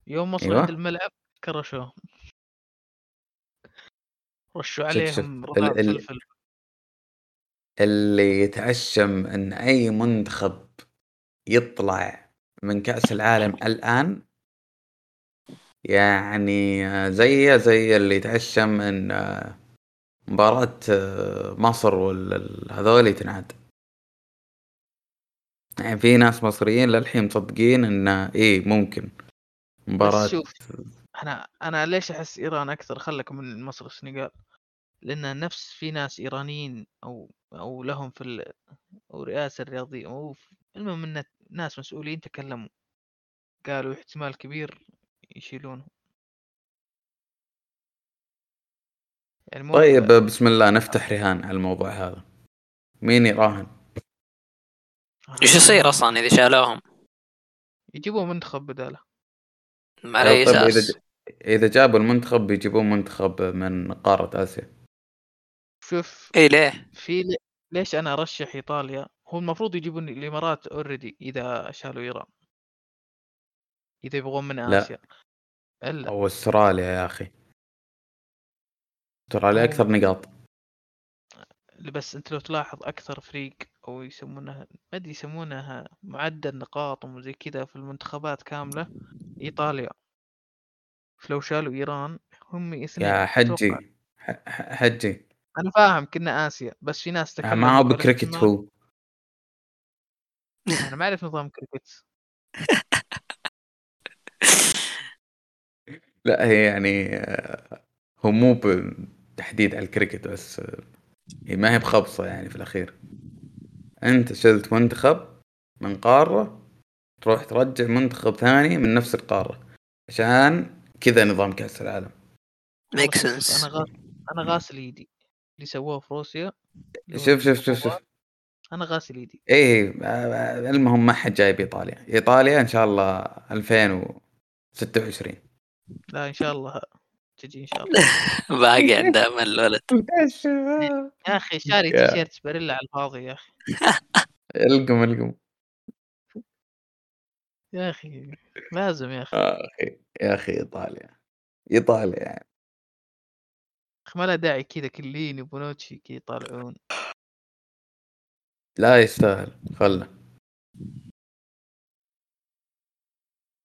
[SPEAKER 1] يوم وصلوا
[SPEAKER 2] أيوة.
[SPEAKER 1] عند الملعب كرشوهم رشوا
[SPEAKER 2] شوف- شوف.
[SPEAKER 1] عليهم
[SPEAKER 2] ال-
[SPEAKER 1] رطاب
[SPEAKER 2] ال-
[SPEAKER 1] فلفل
[SPEAKER 2] اللي يتعشم ان اي منتخب يطلع من كاس العالم الان يعني زي زي اللي يتعشم ان آه، مباراة آه، مصر والهذول تنعاد يعني في ناس مصريين للحين مصدقين ان ايه ممكن مباراة
[SPEAKER 1] بس شوف أنا أنا ليش أحس إيران أكثر خلك من مصر والسنغال لأن نفس في ناس إيرانيين أو أو لهم في ال... أو رئاسة الرياضية أو في- المهم إن ناس مسؤولين تكلموا قالوا احتمال كبير يشيلونه يعني مو
[SPEAKER 2] طيب بسم الله نفتح رهان على الموضوع هذا مين يراهن؟
[SPEAKER 3] ايش يصير اصلا اذا شالوهم؟
[SPEAKER 1] يجيبوا منتخب بداله
[SPEAKER 3] على اي
[SPEAKER 2] طيب إذا
[SPEAKER 3] اساس؟
[SPEAKER 2] ج- اذا جابوا المنتخب بيجيبون منتخب من قارة اسيا
[SPEAKER 1] شوف
[SPEAKER 3] اي ليه؟
[SPEAKER 1] في لي- ليش انا ارشح ايطاليا هو المفروض يجيبون الامارات اوريدي اذا شالوا ايران اذا يبغون من
[SPEAKER 2] لا.
[SPEAKER 1] اسيا الا
[SPEAKER 2] او استراليا يا اخي استراليا
[SPEAKER 1] أو-
[SPEAKER 2] اكثر نقاط
[SPEAKER 1] بس انت لو تلاحظ اكثر فريق او يسمونها ما ادري يسمونها معدل نقاط وزي كذا في المنتخبات كامله ايطاليا فلو شالوا ايران هم اثنين
[SPEAKER 2] يا
[SPEAKER 1] أتوقع.
[SPEAKER 2] حجي ح- ح- حجي
[SPEAKER 1] انا فاهم كنا اسيا بس في ناس تكلموا
[SPEAKER 2] ما هو
[SPEAKER 1] قالوا
[SPEAKER 2] بكريكت
[SPEAKER 1] احتمال-
[SPEAKER 2] هو
[SPEAKER 1] انا ما اعرف نظام كريكت
[SPEAKER 2] لا هي يعني آه، هو مو بتحديد على الكريكت بس آه، هي ما هي بخبصة يعني في الأخير أنت شلت منتخب من قارة تروح ترجع منتخب ثاني من نفس القارة عشان كذا نظام كأس العالم
[SPEAKER 3] ميك
[SPEAKER 1] والله شوف،
[SPEAKER 3] سنس
[SPEAKER 1] انا غاس... انا غاسل ايدي اللي سووه في روسيا اللي هو
[SPEAKER 2] شوف شوف شوف شوف
[SPEAKER 1] الخوار، انا غاسل ايدي
[SPEAKER 2] ايه آه، المهم ما حد جايب ايطاليا ايطاليا ان شاء الله 2026
[SPEAKER 1] لا ان شاء الله تجي ان شاء الله
[SPEAKER 3] باقي عنده امل الولد
[SPEAKER 1] يا اخي شاري
[SPEAKER 2] يا.
[SPEAKER 1] تيشيرت باريلا على الفاضي يا اخي
[SPEAKER 2] القم القم
[SPEAKER 1] يا اخي لازم يا اخي
[SPEAKER 2] آه، يا اخي يا اخي ايطاليا ايطاليا يعني
[SPEAKER 1] أخي ما له داعي كذا كليني وبونوتشي كذا يطالعون
[SPEAKER 2] لا يستاهل خله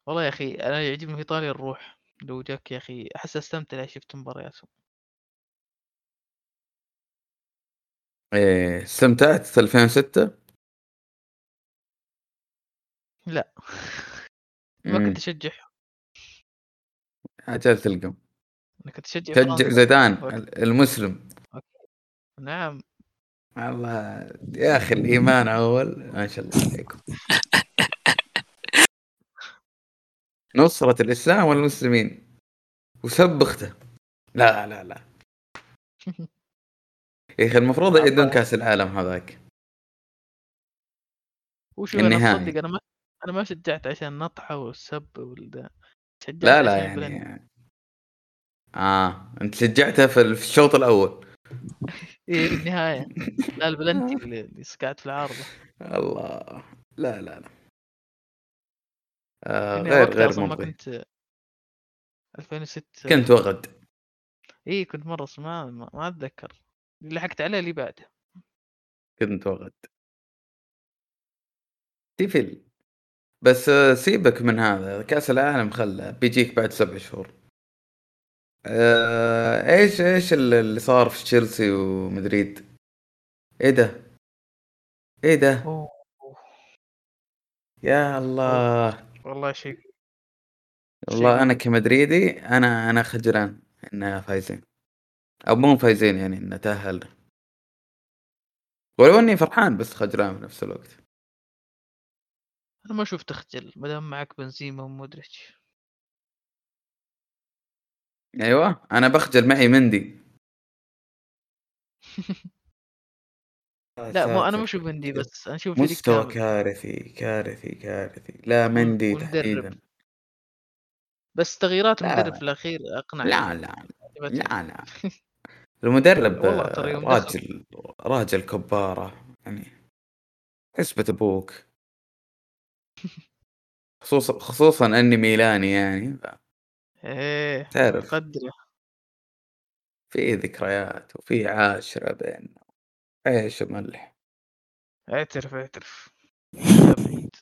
[SPEAKER 1] والله يا اخي انا يعجبني في ايطاليا الروح لو جاك يا اخي احس استمتع إذا شفت مبارياتهم
[SPEAKER 2] إيه استمتعت في 2006
[SPEAKER 1] لا ما
[SPEAKER 2] مم،
[SPEAKER 1] كنت اشجع
[SPEAKER 2] اجل تلقم
[SPEAKER 1] انا كنت اشجع
[SPEAKER 2] شجع
[SPEAKER 1] فرنسا.
[SPEAKER 2] زيدان
[SPEAKER 1] أوكي.
[SPEAKER 2] ال- المسلم
[SPEAKER 1] نعم
[SPEAKER 2] الله يا اخي الايمان اول ما شاء الله عليكم نصرة الاسلام والمسلمين وسب اخته لا لا لا يا اخي المفروض يعيدون كاس العالم هذاك
[SPEAKER 1] وشو انا
[SPEAKER 2] النهائي.
[SPEAKER 1] تصدق انا ما انا ما شجعت عشان نطحه والسب والدا شجعت
[SPEAKER 2] لا لا
[SPEAKER 1] عشان البلند.
[SPEAKER 2] يعني اه انت شجعته في ال- في الشوط الاول
[SPEAKER 1] إيه النهاية لا البلنتي اللي اللي سقعت في العارضة
[SPEAKER 2] الله لا لا لا آه
[SPEAKER 1] لأني
[SPEAKER 2] غير
[SPEAKER 1] يعني وقتها
[SPEAKER 2] غير
[SPEAKER 1] أصلاً ما
[SPEAKER 2] مرضي
[SPEAKER 1] كنت 2006
[SPEAKER 2] كنت وغد
[SPEAKER 1] إي إيه، كنت مرة ص- ما ما ما أتذكر لحقت عليه اللي بعده
[SPEAKER 2] كنت وغد تفل بس آه، سيبك من هذا كاس العالم خله بيجيك بعد سبع شهور آه ايش ايش ال- اللي صار في تشيلسي ومدريد ايه ده ايه ده
[SPEAKER 1] أوه
[SPEAKER 2] يا الله
[SPEAKER 1] والله شيء
[SPEAKER 2] والله انا
[SPEAKER 1] شيء-
[SPEAKER 2] كمدريدي انا انا خجلان اننا فايزين او مو فايزين يعني ان تاهلنا ولو اني فرحان بس خجلان في نفس الوقت
[SPEAKER 1] انا ما اشوف تخجل ما دام معك بنزيما ومودريتش
[SPEAKER 2] ايوه انا بخجل معي مندي
[SPEAKER 1] لا مو انا ما اشوف مندي بس انا اشوف فريق
[SPEAKER 2] مستوى
[SPEAKER 1] كامل
[SPEAKER 2] كارثي كارثي كارثي لا مندي
[SPEAKER 1] والمدرب.
[SPEAKER 2] تحديدا
[SPEAKER 1] بس تغييرات
[SPEAKER 2] لا.
[SPEAKER 1] المدرب في الاخير اقنع
[SPEAKER 2] لا لا
[SPEAKER 1] يعني.
[SPEAKER 2] لا لا المدرب
[SPEAKER 1] والله ترى يوم
[SPEAKER 2] آه، راجل راجل كبارة يعني حسبة ابوك خصوصا خصوصا اني ميلاني يعني
[SPEAKER 1] ايه
[SPEAKER 2] تعرف
[SPEAKER 1] قدره
[SPEAKER 2] في ذكريات وفي عاشرة بيننا عيش وملح
[SPEAKER 1] اعترف اعترف لا بعيد.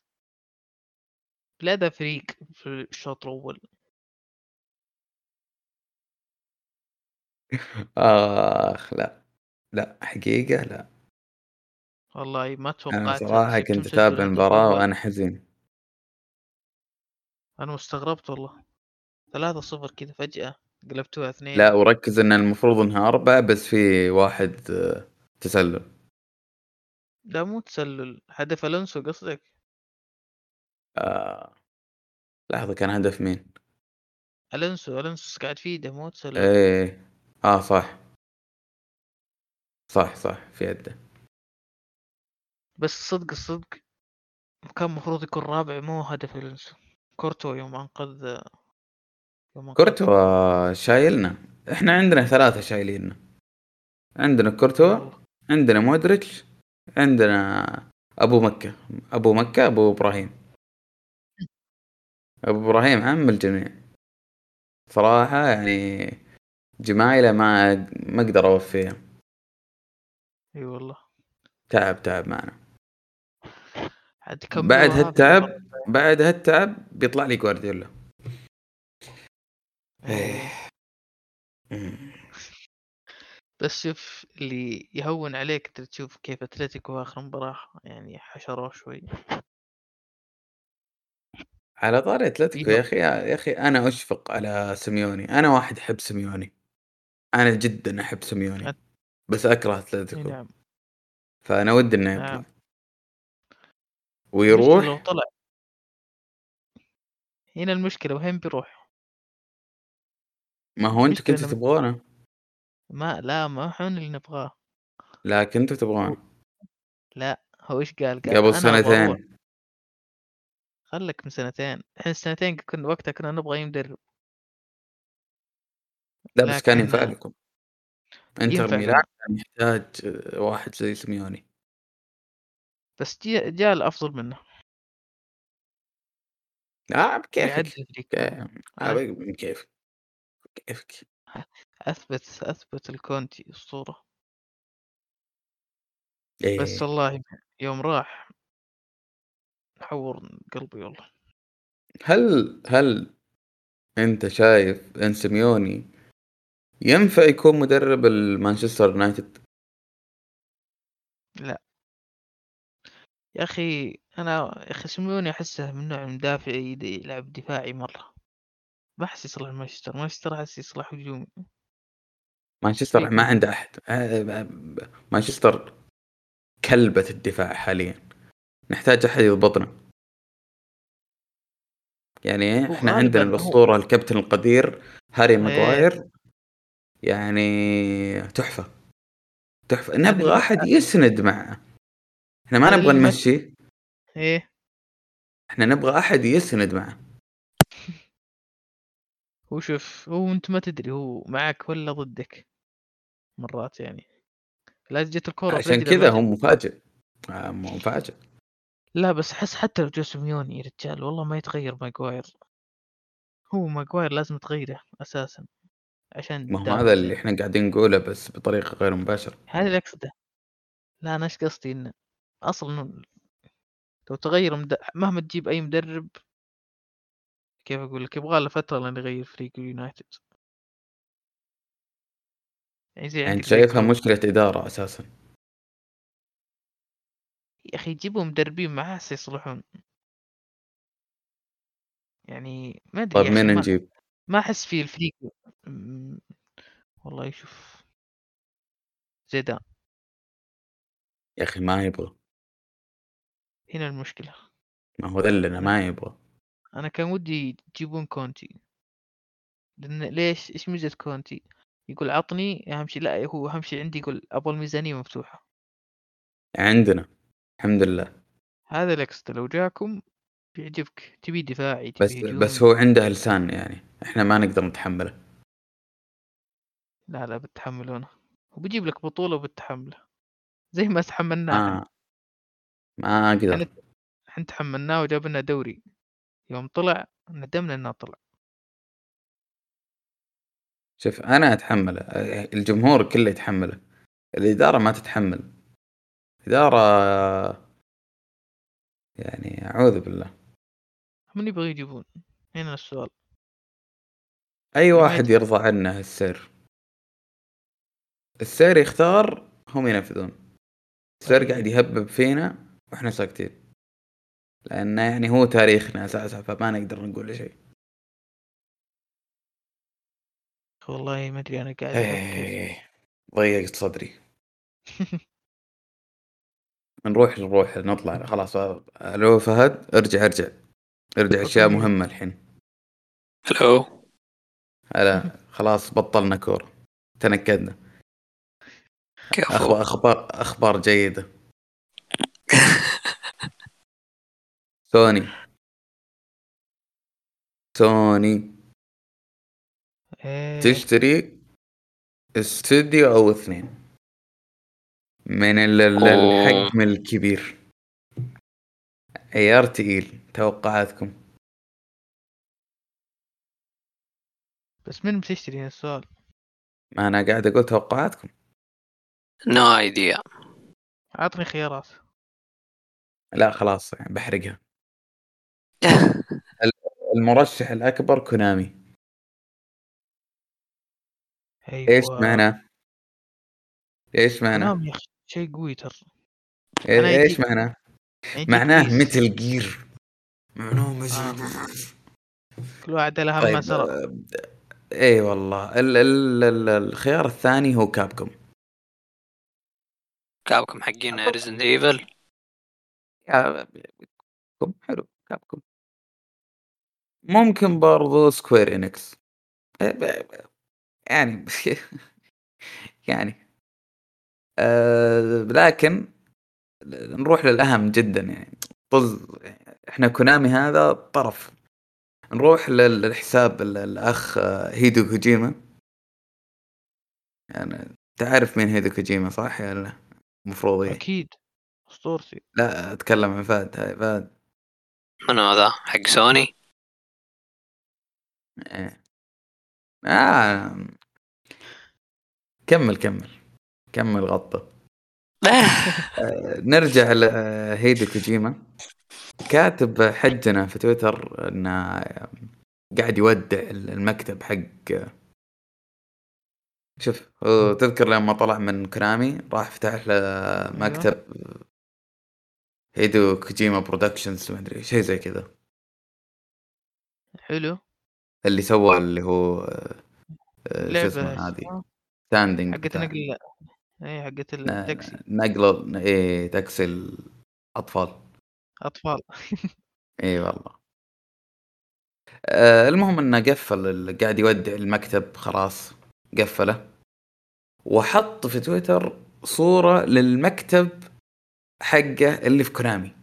[SPEAKER 1] لا ده فريق في الشوط الاول
[SPEAKER 2] اخ لا لا حقيقة لا
[SPEAKER 1] والله ما توقعت
[SPEAKER 2] انا
[SPEAKER 1] إن
[SPEAKER 2] صراحة
[SPEAKER 1] سيتي
[SPEAKER 2] كنت
[SPEAKER 1] مسجل
[SPEAKER 2] اتابع
[SPEAKER 1] الهدف
[SPEAKER 2] المباراة
[SPEAKER 1] الأول.
[SPEAKER 2] وانا حزين
[SPEAKER 1] انا استغربت والله 3 0 كذا فجأة قلبتوها اثنين
[SPEAKER 2] لا وركز ان المفروض انها اربعة بس في واحد آه، تسلل
[SPEAKER 1] لا مو تسلل هدف الونسو قصدك
[SPEAKER 2] آه. لحظة كان هدف مين؟
[SPEAKER 1] الونسو الونسو قاعد في ايده مو تسلل
[SPEAKER 2] ايه اه صح صح صح في يده
[SPEAKER 1] بس صدق الصدق كان المفروض يكون رابع مو هدف الونسو كورتو يوم انقذ يوم أنقذ-
[SPEAKER 2] كورتوا شايلنا احنا عندنا ثلاثة شايليننا عندنا كورتوا
[SPEAKER 1] والله.
[SPEAKER 2] عندنا مودريتش عندنا ابو مكة ابو مكة ابو ابراهيم ابو ابراهيم عم الجميع صراحة يعني جمايله ما ما اقدر اوفيها
[SPEAKER 1] اي والله
[SPEAKER 2] تعب تعب معنا
[SPEAKER 1] عاد كملوا
[SPEAKER 2] بعد
[SPEAKER 1] هذا
[SPEAKER 2] هالتعب
[SPEAKER 1] المرة.
[SPEAKER 2] بعد هالتعب بيطلع لي جوارديولا
[SPEAKER 1] إيه. بس شوف اللي يهون عليك انت تشوف كيف اتلتيكو اخر مباراة يعني حشروه شوي
[SPEAKER 2] على طاري اتلتيكو
[SPEAKER 1] إيه.
[SPEAKER 2] يا اخي يا اخي انا اشفق على سيميوني انا واحد احب سيميوني انا جدا احب سيميوني
[SPEAKER 1] أت-
[SPEAKER 2] بس اكره
[SPEAKER 1] إي
[SPEAKER 2] اتلتيكو
[SPEAKER 1] نعم
[SPEAKER 2] فانا ودي انه
[SPEAKER 1] نعم.
[SPEAKER 2] يطلع
[SPEAKER 1] المشكلة
[SPEAKER 2] ويروح
[SPEAKER 1] لو طلع هنا المشكلة وين بيروح
[SPEAKER 2] ما هو انتم
[SPEAKER 1] المشكلة
[SPEAKER 2] كنتوا
[SPEAKER 1] لما-
[SPEAKER 2] تبغونه
[SPEAKER 1] ما لا ما احنا اللي نبغاه
[SPEAKER 2] لا كنتوا تبغونه
[SPEAKER 1] هو ايش قال قال
[SPEAKER 2] قبل
[SPEAKER 1] أنا أبغى أروح.
[SPEAKER 2] سنتين
[SPEAKER 1] خلك من سنتين احنا سنتين كنا وقتها كنا نبغى يمدرب
[SPEAKER 2] لا بس كان
[SPEAKER 1] لكن-
[SPEAKER 2] ينفع لكم انتر
[SPEAKER 1] ينفع
[SPEAKER 2] ميلان كان يحتاج آه، واحد زي سيميوني
[SPEAKER 1] بس جاء جاء الافضل منه
[SPEAKER 2] لا
[SPEAKER 1] يعدل
[SPEAKER 2] بكيفك
[SPEAKER 1] الفريق
[SPEAKER 2] آه، آه، بكيفك بكيفك
[SPEAKER 1] اثبت اثبت الكونتي الصورة
[SPEAKER 2] إيه.
[SPEAKER 1] بس والله يوم راح حور قلبي والله
[SPEAKER 2] هل هل انت شايف ان سيميوني ينفع يكون مدرب المانشستر يونايتد؟
[SPEAKER 1] يا اخي انا يا اخي سيميوني احسه من نوع المدافع يد- يلعب دفاعي مره ما احس يصلح مانشستر مانشستر احس يصلح هجومي
[SPEAKER 2] مانشستر
[SPEAKER 1] فيكم.
[SPEAKER 2] ما عنده احد آه، مانشستر كلبة الدفاع حاليا نحتاج احد يضبطنا يعني احنا
[SPEAKER 1] وغالباً
[SPEAKER 2] عندنا
[SPEAKER 1] هو-
[SPEAKER 2] الاسطورة الكابتن القدير هاري
[SPEAKER 1] إيه.
[SPEAKER 2] ماغواير يعني تحفة تحفة
[SPEAKER 1] اللي-
[SPEAKER 2] نبغى احد يسند معه احنا ما
[SPEAKER 1] هذا
[SPEAKER 2] نبغى
[SPEAKER 1] اللي ما-
[SPEAKER 2] نمشي
[SPEAKER 1] ايه
[SPEAKER 2] احنا نبغى احد يسند معه
[SPEAKER 1] هو شوف هو انت ما تدري هو معك ولا ضدك مرات يعني لا جت الكره في
[SPEAKER 2] عشان
[SPEAKER 1] رجله
[SPEAKER 2] كذا
[SPEAKER 1] ما-
[SPEAKER 2] هو مفاجئ آه، مفاجئ
[SPEAKER 1] لا بس حس حتى لو جو سيميوني يا رجال والله ما يتغير ماجواير هو ماجواير لازم تغيره اساسا عشان
[SPEAKER 2] ما هو
[SPEAKER 1] دافع
[SPEAKER 2] هذا اللي
[SPEAKER 1] زي-
[SPEAKER 2] احنا قاعدين نقوله بس بطريقه غير مباشره
[SPEAKER 1] هذا اللي اقصده لا انا ايش قصدي انه اصلا لو تغير مد... مهما تجيب اي مدرب كيف اقول لك يبغى له فتره لين يغير فريق اليونايتد يعني زي
[SPEAKER 2] يعني
[SPEAKER 1] عندك
[SPEAKER 2] شايفها
[SPEAKER 1] زي كلوب.
[SPEAKER 2] مشكله اداره اساسا
[SPEAKER 1] يا اخي يجيبوا مدربين معاه هسه يصلحون يعني ما ادري
[SPEAKER 2] طيب
[SPEAKER 1] يا أخي
[SPEAKER 2] مين
[SPEAKER 1] ما-
[SPEAKER 2] نجيب؟
[SPEAKER 1] ما احس في الفريق أمم، والله شوف زيدان
[SPEAKER 2] يا اخي ما يبغى
[SPEAKER 1] هنا المشكلة
[SPEAKER 2] ما هو ذلنا ما يبغى
[SPEAKER 1] انا كان ودي تجيبون كونتي لان ليش ايش ميزة كونتي يقول عطني اهم شيء لا هو اهم شيء عندي يقول ابغى الميزانية مفتوحة
[SPEAKER 2] عندنا الحمد لله
[SPEAKER 1] هذا الاكسترا لو جاكم بيعجبك تبي دفاعي تبي
[SPEAKER 2] بس
[SPEAKER 1] هجومي.
[SPEAKER 2] بس هو عنده لسان يعني احنا ما نقدر نتحمله
[SPEAKER 1] لا لا بتحملونه وبيجيب لك بطولة وبتحمله زي ما تحملناه
[SPEAKER 2] ما ما اقدر
[SPEAKER 1] نعم. أنا- احنا تحملناه وجاب لنا دوري يوم طلع ندمنا انه طلع
[SPEAKER 2] شوف انا اتحمله أه، الجمهور كله يتحمله الاداره ما تتحمل الاداره يعني اعوذ بالله
[SPEAKER 1] من يبغى يجيبون هنا السؤال
[SPEAKER 2] اي
[SPEAKER 1] ما
[SPEAKER 2] واحد
[SPEAKER 1] يت-
[SPEAKER 2] يرضى عنه السير السير يختار هم ينفذون السير
[SPEAKER 1] أكيد.
[SPEAKER 2] قاعد يهبب فينا واحنا ساكتين لانه يعني هو تاريخنا اساسا فما نقدر نقول له شيء
[SPEAKER 1] والله ما ادري انا قاعد أفكر.
[SPEAKER 2] إيه، ضيقت صدري نروح نروح نطلع خلاص الو فهد ارجع ارجع ارجع اشياء
[SPEAKER 1] أوكي.
[SPEAKER 2] مهمه الحين
[SPEAKER 3] الو
[SPEAKER 2] هلا خلاص بطلنا كوره تنكدنا
[SPEAKER 3] كفو
[SPEAKER 2] اخبار اخبار اخبار جيده سوني سوني
[SPEAKER 1] إيه،
[SPEAKER 2] تشتري استوديو او اثنين من ال- ال-
[SPEAKER 3] أوه.
[SPEAKER 2] الحجم الكبير عيار تقيل توقعاتكم
[SPEAKER 1] بس من بتشتري هنا السؤال
[SPEAKER 2] ما انا قاعد اقول توقعاتكم
[SPEAKER 3] نو ايديا
[SPEAKER 1] عطني خيارات
[SPEAKER 2] لا خلاص يعني بحرقها المرشح الاكبر كونامي
[SPEAKER 1] أيوة.
[SPEAKER 2] ايش معناه ايش معناه
[SPEAKER 1] نعم يا اخي شيء قوي ترى أنا
[SPEAKER 2] إيه- ايش
[SPEAKER 1] يجي-
[SPEAKER 2] معناه
[SPEAKER 1] يعني يجيك
[SPEAKER 2] معناه
[SPEAKER 1] بيس.
[SPEAKER 2] مثل جير معناه مثل
[SPEAKER 1] آه. كل واحد له
[SPEAKER 2] طيب،
[SPEAKER 1] ما سرى
[SPEAKER 2] آه، اي والله ال ال ال الخيار الثاني هو كابكم
[SPEAKER 3] كابكم حقين ريزن ايفل
[SPEAKER 2] كابكم حلو كابكم ممكن برضو سكوير انكس يعني يعني آه لكن نروح للاهم جدا يعني طز احنا كونامي هذا طرف نروح لل- للحساب ال- الاخ آه، هيدو كوجيما يعني تعرف مين هيدو كوجيما صح ولا لا؟ المفروض يعني.
[SPEAKER 1] اكيد اسطورتي
[SPEAKER 2] لا اتكلم عن فهد هاي فهد
[SPEAKER 3] من هذا حق سوني
[SPEAKER 2] إيه. آه. كمل كمل كمل غطه آه، نرجع لهيدي كوجيما كاتب حجنا في تويتر انه قاعد يودع المكتب حق شوف هو تذكر لما طلع من كرامي راح فتح له مكتب هيدو كوجيما برودكشنز ما ادري شيء زي كذا آه،
[SPEAKER 1] حلو
[SPEAKER 2] اللي سوى اللي هو آه، آه، شو
[SPEAKER 1] لعبة
[SPEAKER 2] اسمه هذه ستاندنج
[SPEAKER 1] حقت نقل اي حقت التاكسي
[SPEAKER 2] نقل ايه تاكسي الاطفال
[SPEAKER 1] اطفال
[SPEAKER 2] اي إيه، والله آه المهم انه قفل ال- قاعد يودع المكتب خلاص قفله وحط في تويتر صورة للمكتب حقه اللي في كونامي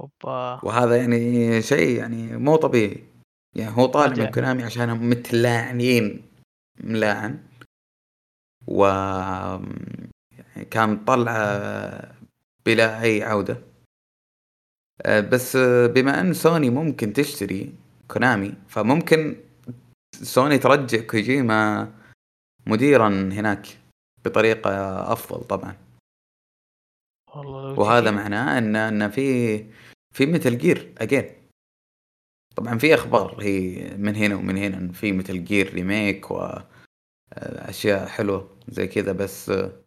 [SPEAKER 1] اوبا
[SPEAKER 2] وهذا يعني شيء يعني مو طبيعي يعني هو طالع من
[SPEAKER 1] رجع.
[SPEAKER 2] كونامي عشان متلاعنين ملاعن و يعني كان طلعه بلا اي عوده آه، بس آه، بما ان سوني ممكن تشتري كونامي فممكن سوني ترجع كوجيما مديرا هناك بطريقه افضل طبعا
[SPEAKER 1] والله لو
[SPEAKER 2] وهذا
[SPEAKER 1] تجي-
[SPEAKER 2] معناه ان ان في في مثل جير اجين طبعا في اخبار هي من هنا ومن هنا ان في مثل جير ريميك و آه، اشياء حلوه زي كذا بس آه،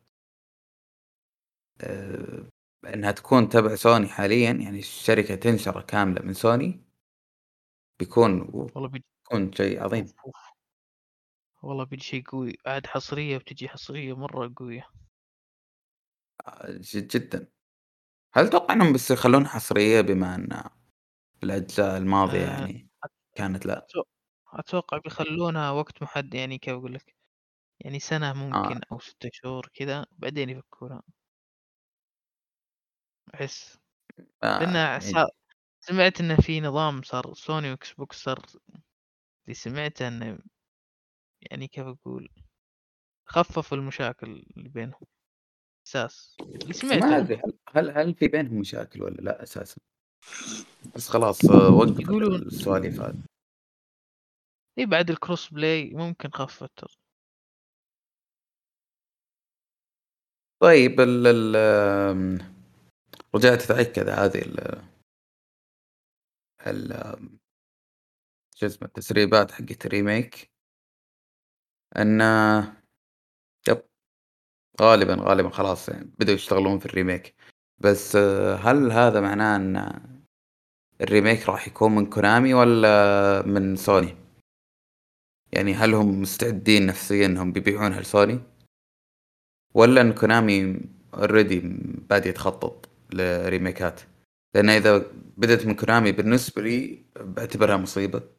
[SPEAKER 2] آه، انها تكون تبع سوني حاليا يعني الشركه تنشر كامله من سوني بيكون
[SPEAKER 1] والله بيجي
[SPEAKER 2] بيكون شيء عظيم
[SPEAKER 1] أوف. والله بيجي شيء قوي عاد حصرية بتجي حصرية مرة قوية
[SPEAKER 2] جد جدا هل تتوقع انهم بس يخلونها حصريه بما ان الاجزاء الماضيه
[SPEAKER 1] آه،
[SPEAKER 2] يعني كانت لا
[SPEAKER 1] اتوقع بيخلونها وقت محدد يعني كيف اقول لك يعني
[SPEAKER 2] آه.
[SPEAKER 1] سنه ممكن او ستة شهور كذا بعدين يفكونها احس
[SPEAKER 2] آه،
[SPEAKER 1] لان
[SPEAKER 2] يعني
[SPEAKER 1] صار سمعت انه في نظام صار سوني واكس بوكس صار اللي سمعته انه يعني كيف اقول خفف المشاكل اللي بينهم اساس اللي
[SPEAKER 2] ما
[SPEAKER 1] سمعته
[SPEAKER 2] ادري هل- هل هل في بينهم مشاكل ولا لا اساسا بس خلاص آه، وقف
[SPEAKER 1] يقولون-
[SPEAKER 2] السواليف هذه
[SPEAKER 1] اي إيه، بعد الكروس بلاي ممكن خفت ترى.
[SPEAKER 2] طيب ال ال آم، رجعت اتاكد هذه ال ال آم، شو اسمه التسريبات حقت الريميك ان آه، يب غالبا غالبا خلاص يعني بدأوا يشتغلون في الريميك بس آه، هل هذا معناه ان الريميك راح يكون من كونامي ولا من سوني؟ يعني هل هم مستعدين نفسيا انهم بيبيعونها لسوني؟ ولا ان كونامي اوريدي بادي يتخطط لريميكات؟ لان اذا بدت من كونامي بالنسبه لي بعتبرها مصيبه.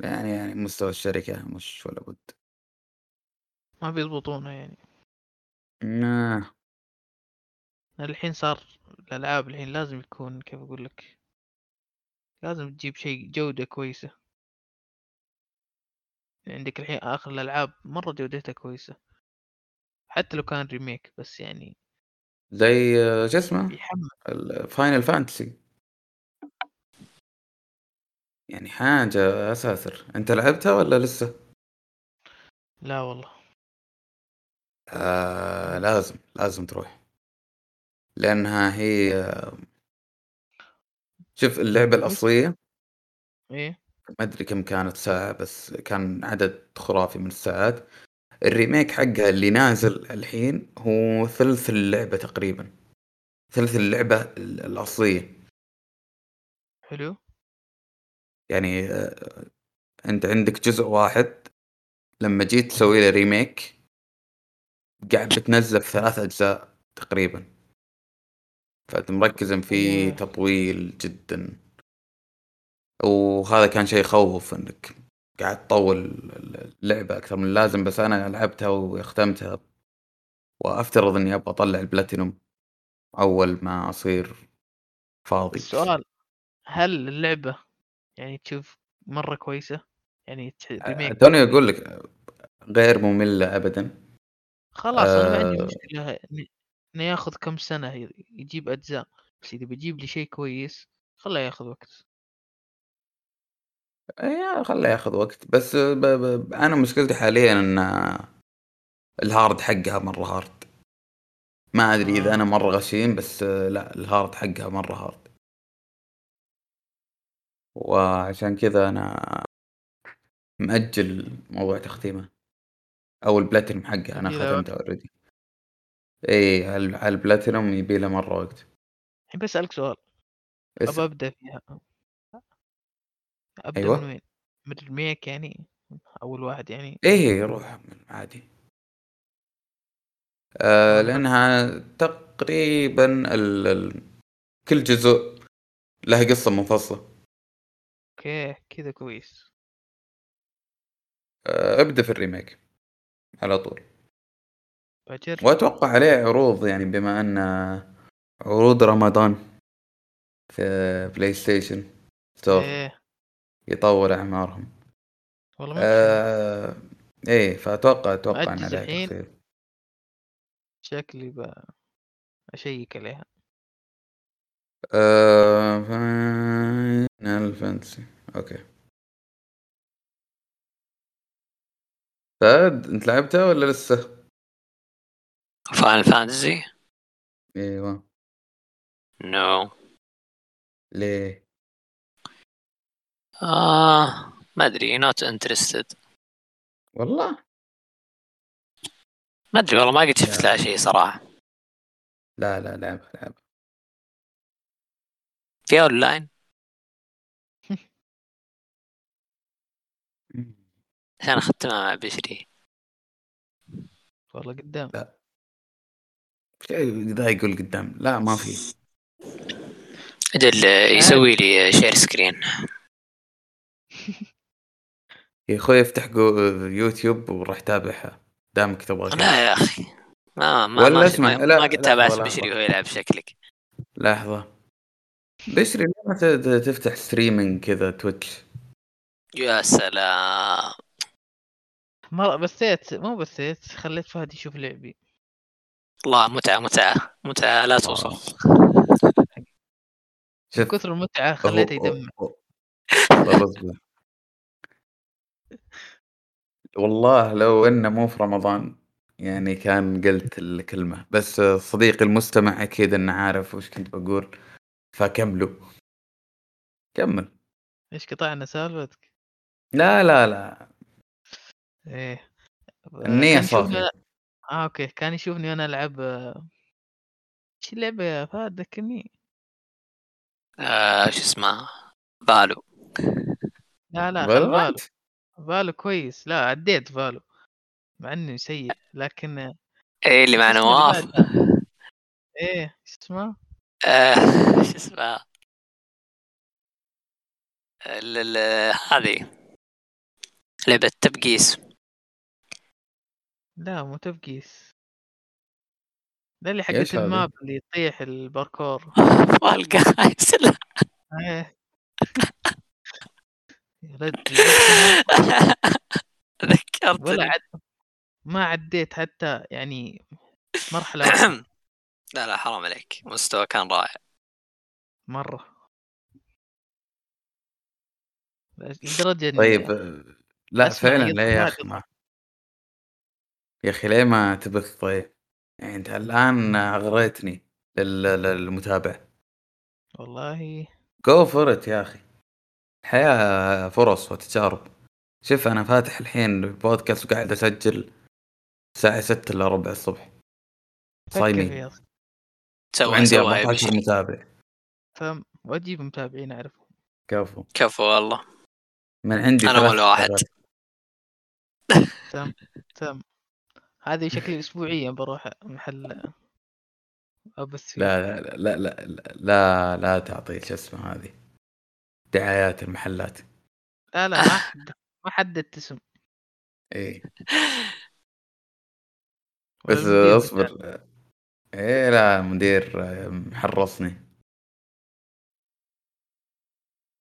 [SPEAKER 2] يعني يعني مستوى الشركه مش ولا بد.
[SPEAKER 1] ما بيضبطونها يعني
[SPEAKER 2] آه،
[SPEAKER 1] الحين صار الالعاب الحين لازم يكون كيف اقول لك لازم تجيب شيء جوده كويسه يعني عندك الحين اخر الالعاب مره جودتها كويسه حتى لو كان ريميك بس يعني
[SPEAKER 2] زي آه، شو اسمه؟
[SPEAKER 1] يحمل
[SPEAKER 2] فاينل فانتسي يعني حاجة أساسر أنت لعبتها ولا لسه؟
[SPEAKER 1] لا والله
[SPEAKER 2] آه لازم لازم تروح لأنها هي آه، شوف اللعبة الأصلية
[SPEAKER 1] ايه
[SPEAKER 2] ما أدري كم كانت ساعة بس كان عدد خرافي من الساعات الريميك حقها اللي نازل الحين هو ثلث اللعبة تقريبا ثلث اللعبة ال- الأصلية
[SPEAKER 1] حلو
[SPEAKER 2] يعني آه، انت عندك جزء واحد لما جيت تسوي له ريميك قاعد بتنزل في ثلاث اجزاء تقريبا فانت مركز إن في
[SPEAKER 1] أوه.
[SPEAKER 2] تطويل جدا وهذا كان شيء يخوف انك قاعد تطول اللعبه اكثر من اللازم بس انا لعبتها وختمتها وافترض اني ابغى اطلع البلاتينوم اول ما اصير فاضي
[SPEAKER 1] السؤال هل اللعبه يعني تشوف مره كويسه يعني تح- ريميك
[SPEAKER 2] توني اقول لك غير ممله ابدا
[SPEAKER 1] خلاص انا ما عندي
[SPEAKER 2] آه.
[SPEAKER 1] مشكله إن- انه ياخذ كم سنه ي- يجيب اجزاء بس اذا بيجيب لي شيء كويس خله ياخذ وقت
[SPEAKER 2] يا خله إيه، ياخذ وقت بس ب... ب... انا مشكلتي حاليا ان الهارد حقها مره هارد ما ادري اذا
[SPEAKER 1] آه.
[SPEAKER 2] انا مره غشيم بس لا الهارد حقها مره هارد وعشان كذا انا مأجل موضوع تختيمه او البلاتينم حقها انا
[SPEAKER 1] يبيله
[SPEAKER 2] ختمته إيه، اوريدي اي على على البلاتينم يبي له مره وقت
[SPEAKER 1] الحين بسألك سؤال
[SPEAKER 2] اسأل.
[SPEAKER 1] ابى ابدا فيها ابدا
[SPEAKER 2] أيوة.
[SPEAKER 1] من وين؟ من الريميك يعني اول واحد يعني
[SPEAKER 2] ايه روح عادي آه
[SPEAKER 1] والله.
[SPEAKER 2] لانها تقريبا ال... ال... كل جزء له قصه منفصله
[SPEAKER 1] اوكي كذا كويس
[SPEAKER 2] آه ابدا في الريميك على طول
[SPEAKER 1] بجرب
[SPEAKER 2] واتوقع عليه عروض يعني بما ان عروض رمضان في بلاي ستيشن ستور
[SPEAKER 1] ايه
[SPEAKER 2] يطول اعمارهم
[SPEAKER 1] والله ما
[SPEAKER 2] آه ايه فاتوقع اتوقع ان
[SPEAKER 1] مأجز
[SPEAKER 2] عليه
[SPEAKER 1] الحين؟
[SPEAKER 2] تخفيض
[SPEAKER 1] شكلي ب- اشيك عليها
[SPEAKER 2] آه فاينل فانتسي اوكي فهد انت لعبتها ولا لسه؟
[SPEAKER 3] فاينل فانتزي
[SPEAKER 2] ايوه
[SPEAKER 3] نو
[SPEAKER 2] ليه؟
[SPEAKER 3] آه ما ادري نوت انترستد
[SPEAKER 2] والله
[SPEAKER 3] ما ادري والله ما قد شفت لها شيء صراحه
[SPEAKER 2] لا لا لعبها لعبها
[SPEAKER 3] في اون لاين عشان اختمها مع بشري
[SPEAKER 1] والله قدام
[SPEAKER 2] ذا يقول قدام لا ما في
[SPEAKER 3] اجل يسوي لي شير سكرين
[SPEAKER 2] يا اخوي افتح جو- يوتيوب وراح تابعها دامك تبغى كذا.
[SPEAKER 3] لا يا اخي ما ما
[SPEAKER 2] ولا
[SPEAKER 3] ما,
[SPEAKER 2] اسمع،
[SPEAKER 3] ما,
[SPEAKER 2] لا،
[SPEAKER 3] ما قد
[SPEAKER 2] لا،
[SPEAKER 3] تابعت
[SPEAKER 2] ولا
[SPEAKER 3] بشري
[SPEAKER 2] أحمر.
[SPEAKER 3] وهو يلعب شكلك
[SPEAKER 2] لحظه بشري ليه ما ت- ت- تفتح ستريمينج كذا تويتش
[SPEAKER 3] يا سلام
[SPEAKER 1] مرة بثيت مو بثيت خليت فهد يشوف لعبي
[SPEAKER 3] الله متعه متعه متعه لا توصف
[SPEAKER 1] من
[SPEAKER 2] شوف
[SPEAKER 1] كثر المتعة خليته يدمع
[SPEAKER 2] طب اصبر. والله لو انه مو في رمضان يعني كان قلت الكلمة بس صديقي المستمع أكيد إنه عارف وش كنت بقول فكملوا كمل
[SPEAKER 1] ايش قطعنا سالفتك؟
[SPEAKER 2] لا لا لا
[SPEAKER 1] ايه آه،
[SPEAKER 2] النية
[SPEAKER 1] كان يشوفني
[SPEAKER 2] صافية
[SPEAKER 1] أنا- اه اوكي كان يشوفني وانا العب آه، ايش اللعبة يا فهد ذكرني
[SPEAKER 3] آه شو اسمه بالو
[SPEAKER 1] لا لا ترى فالو
[SPEAKER 2] فالورانت
[SPEAKER 1] فالو كويس لا عديت فالو مع اني سيء لكن آه،
[SPEAKER 3] ايه اللي مع
[SPEAKER 1] شو اسمه
[SPEAKER 3] نواف
[SPEAKER 1] بعد؟ ايه شو اسمه؟
[SPEAKER 3] آه، شو اسمه ال- ال- هذه لعبة تبقيس
[SPEAKER 1] لا مو تبقيس لا اللي
[SPEAKER 2] إيش
[SPEAKER 1] حقت
[SPEAKER 2] هذه؟
[SPEAKER 1] الماب اللي يطيح الباركور
[SPEAKER 3] فال جايز لا
[SPEAKER 1] ايه يا رجل ليش ما- ولا
[SPEAKER 2] طيب.
[SPEAKER 3] ذكرتني
[SPEAKER 1] عد... ما عديت حتى يعني مرحلة واحدة
[SPEAKER 3] لا لا حرام عليك مستوى كان رائع
[SPEAKER 1] مرة لدرجة إني
[SPEAKER 2] طيب لا
[SPEAKER 1] أسمع
[SPEAKER 2] فعلا
[SPEAKER 1] يطلع
[SPEAKER 2] لا يا أخي
[SPEAKER 1] يطلع.
[SPEAKER 2] ما يا أخي ليه ما تبث طيب يعني أنت الآن أغريتني لل- للمتابع
[SPEAKER 1] والله
[SPEAKER 2] جو فرت يا اخي الحياه فرص وتجارب شوف انا فاتح الحين البودكاست وقاعد اسجل الساعه 6 الا ربع الصبح
[SPEAKER 1] فكر
[SPEAKER 2] صايمين
[SPEAKER 1] فيها.
[SPEAKER 3] سوى
[SPEAKER 2] وعندي
[SPEAKER 3] سوى يا
[SPEAKER 2] 14
[SPEAKER 3] بشري
[SPEAKER 2] متابع
[SPEAKER 1] فم- وأجيب متابعين أعرفهم
[SPEAKER 2] كفو
[SPEAKER 3] كفو والله
[SPEAKER 2] من عندي
[SPEAKER 3] أنا
[SPEAKER 2] ثلاث
[SPEAKER 3] ولا واحد.
[SPEAKER 2] متابعات.
[SPEAKER 1] تم هذه شكلي أسبوعيا بروح محل أبث فيه
[SPEAKER 2] لا لا لا لا لا لا, لا تعطي شو اسمه هذه دعايات المحلات
[SPEAKER 1] لا لا ما حد ما حددت اسم
[SPEAKER 2] اي
[SPEAKER 1] ولا
[SPEAKER 2] بس
[SPEAKER 1] المدير بتاعي.
[SPEAKER 2] اصبر ايه لا مدير حرصني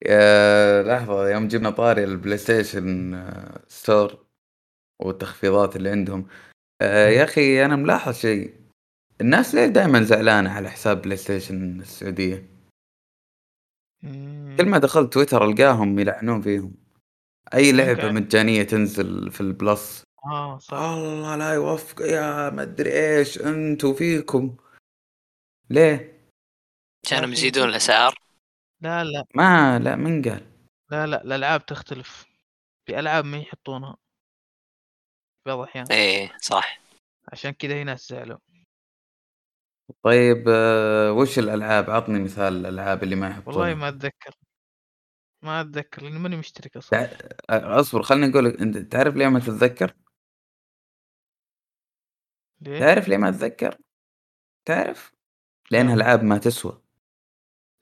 [SPEAKER 2] يا لحظة يوم جبنا طاري البلاي ستيشن آه، ستور والتخفيضات اللي عندهم آه، يا اخي انا ملاحظ شيء الناس ليه دائما زعلانة على حساب بلاي ستيشن السعودية
[SPEAKER 1] مم.
[SPEAKER 2] كل ما دخلت تويتر القاهم يلعنون فيهم اي لعبة
[SPEAKER 1] يمكن.
[SPEAKER 2] مجانية تنزل في البلس
[SPEAKER 1] آه صح
[SPEAKER 2] الله لا يوفق يا مدري ايش انتوا فيكم ليه؟
[SPEAKER 3] كانوا
[SPEAKER 1] في-
[SPEAKER 3] مزيدون الأسعار
[SPEAKER 1] لا لا
[SPEAKER 2] ما لا من قال
[SPEAKER 1] لا لا الألعاب تختلف في ألعاب ما يحطونها بعض الأحيان
[SPEAKER 3] إيه صح
[SPEAKER 1] عشان كذا هنا زعلوا
[SPEAKER 2] طيب آه، وش الالعاب عطني مثال الالعاب اللي ما
[SPEAKER 1] والله
[SPEAKER 2] يحطونها
[SPEAKER 1] ما أتذكر ما أتذكر لأني ماني مشترك أصلا
[SPEAKER 2] تع- آه، اصبر خلني اقول لك انت تعرف ليه ما تتذكر؟
[SPEAKER 1] ليه؟
[SPEAKER 2] تعرف ليه ما تتذكر؟ تعرف؟ لانها
[SPEAKER 1] نعم.
[SPEAKER 2] العاب ما تسوى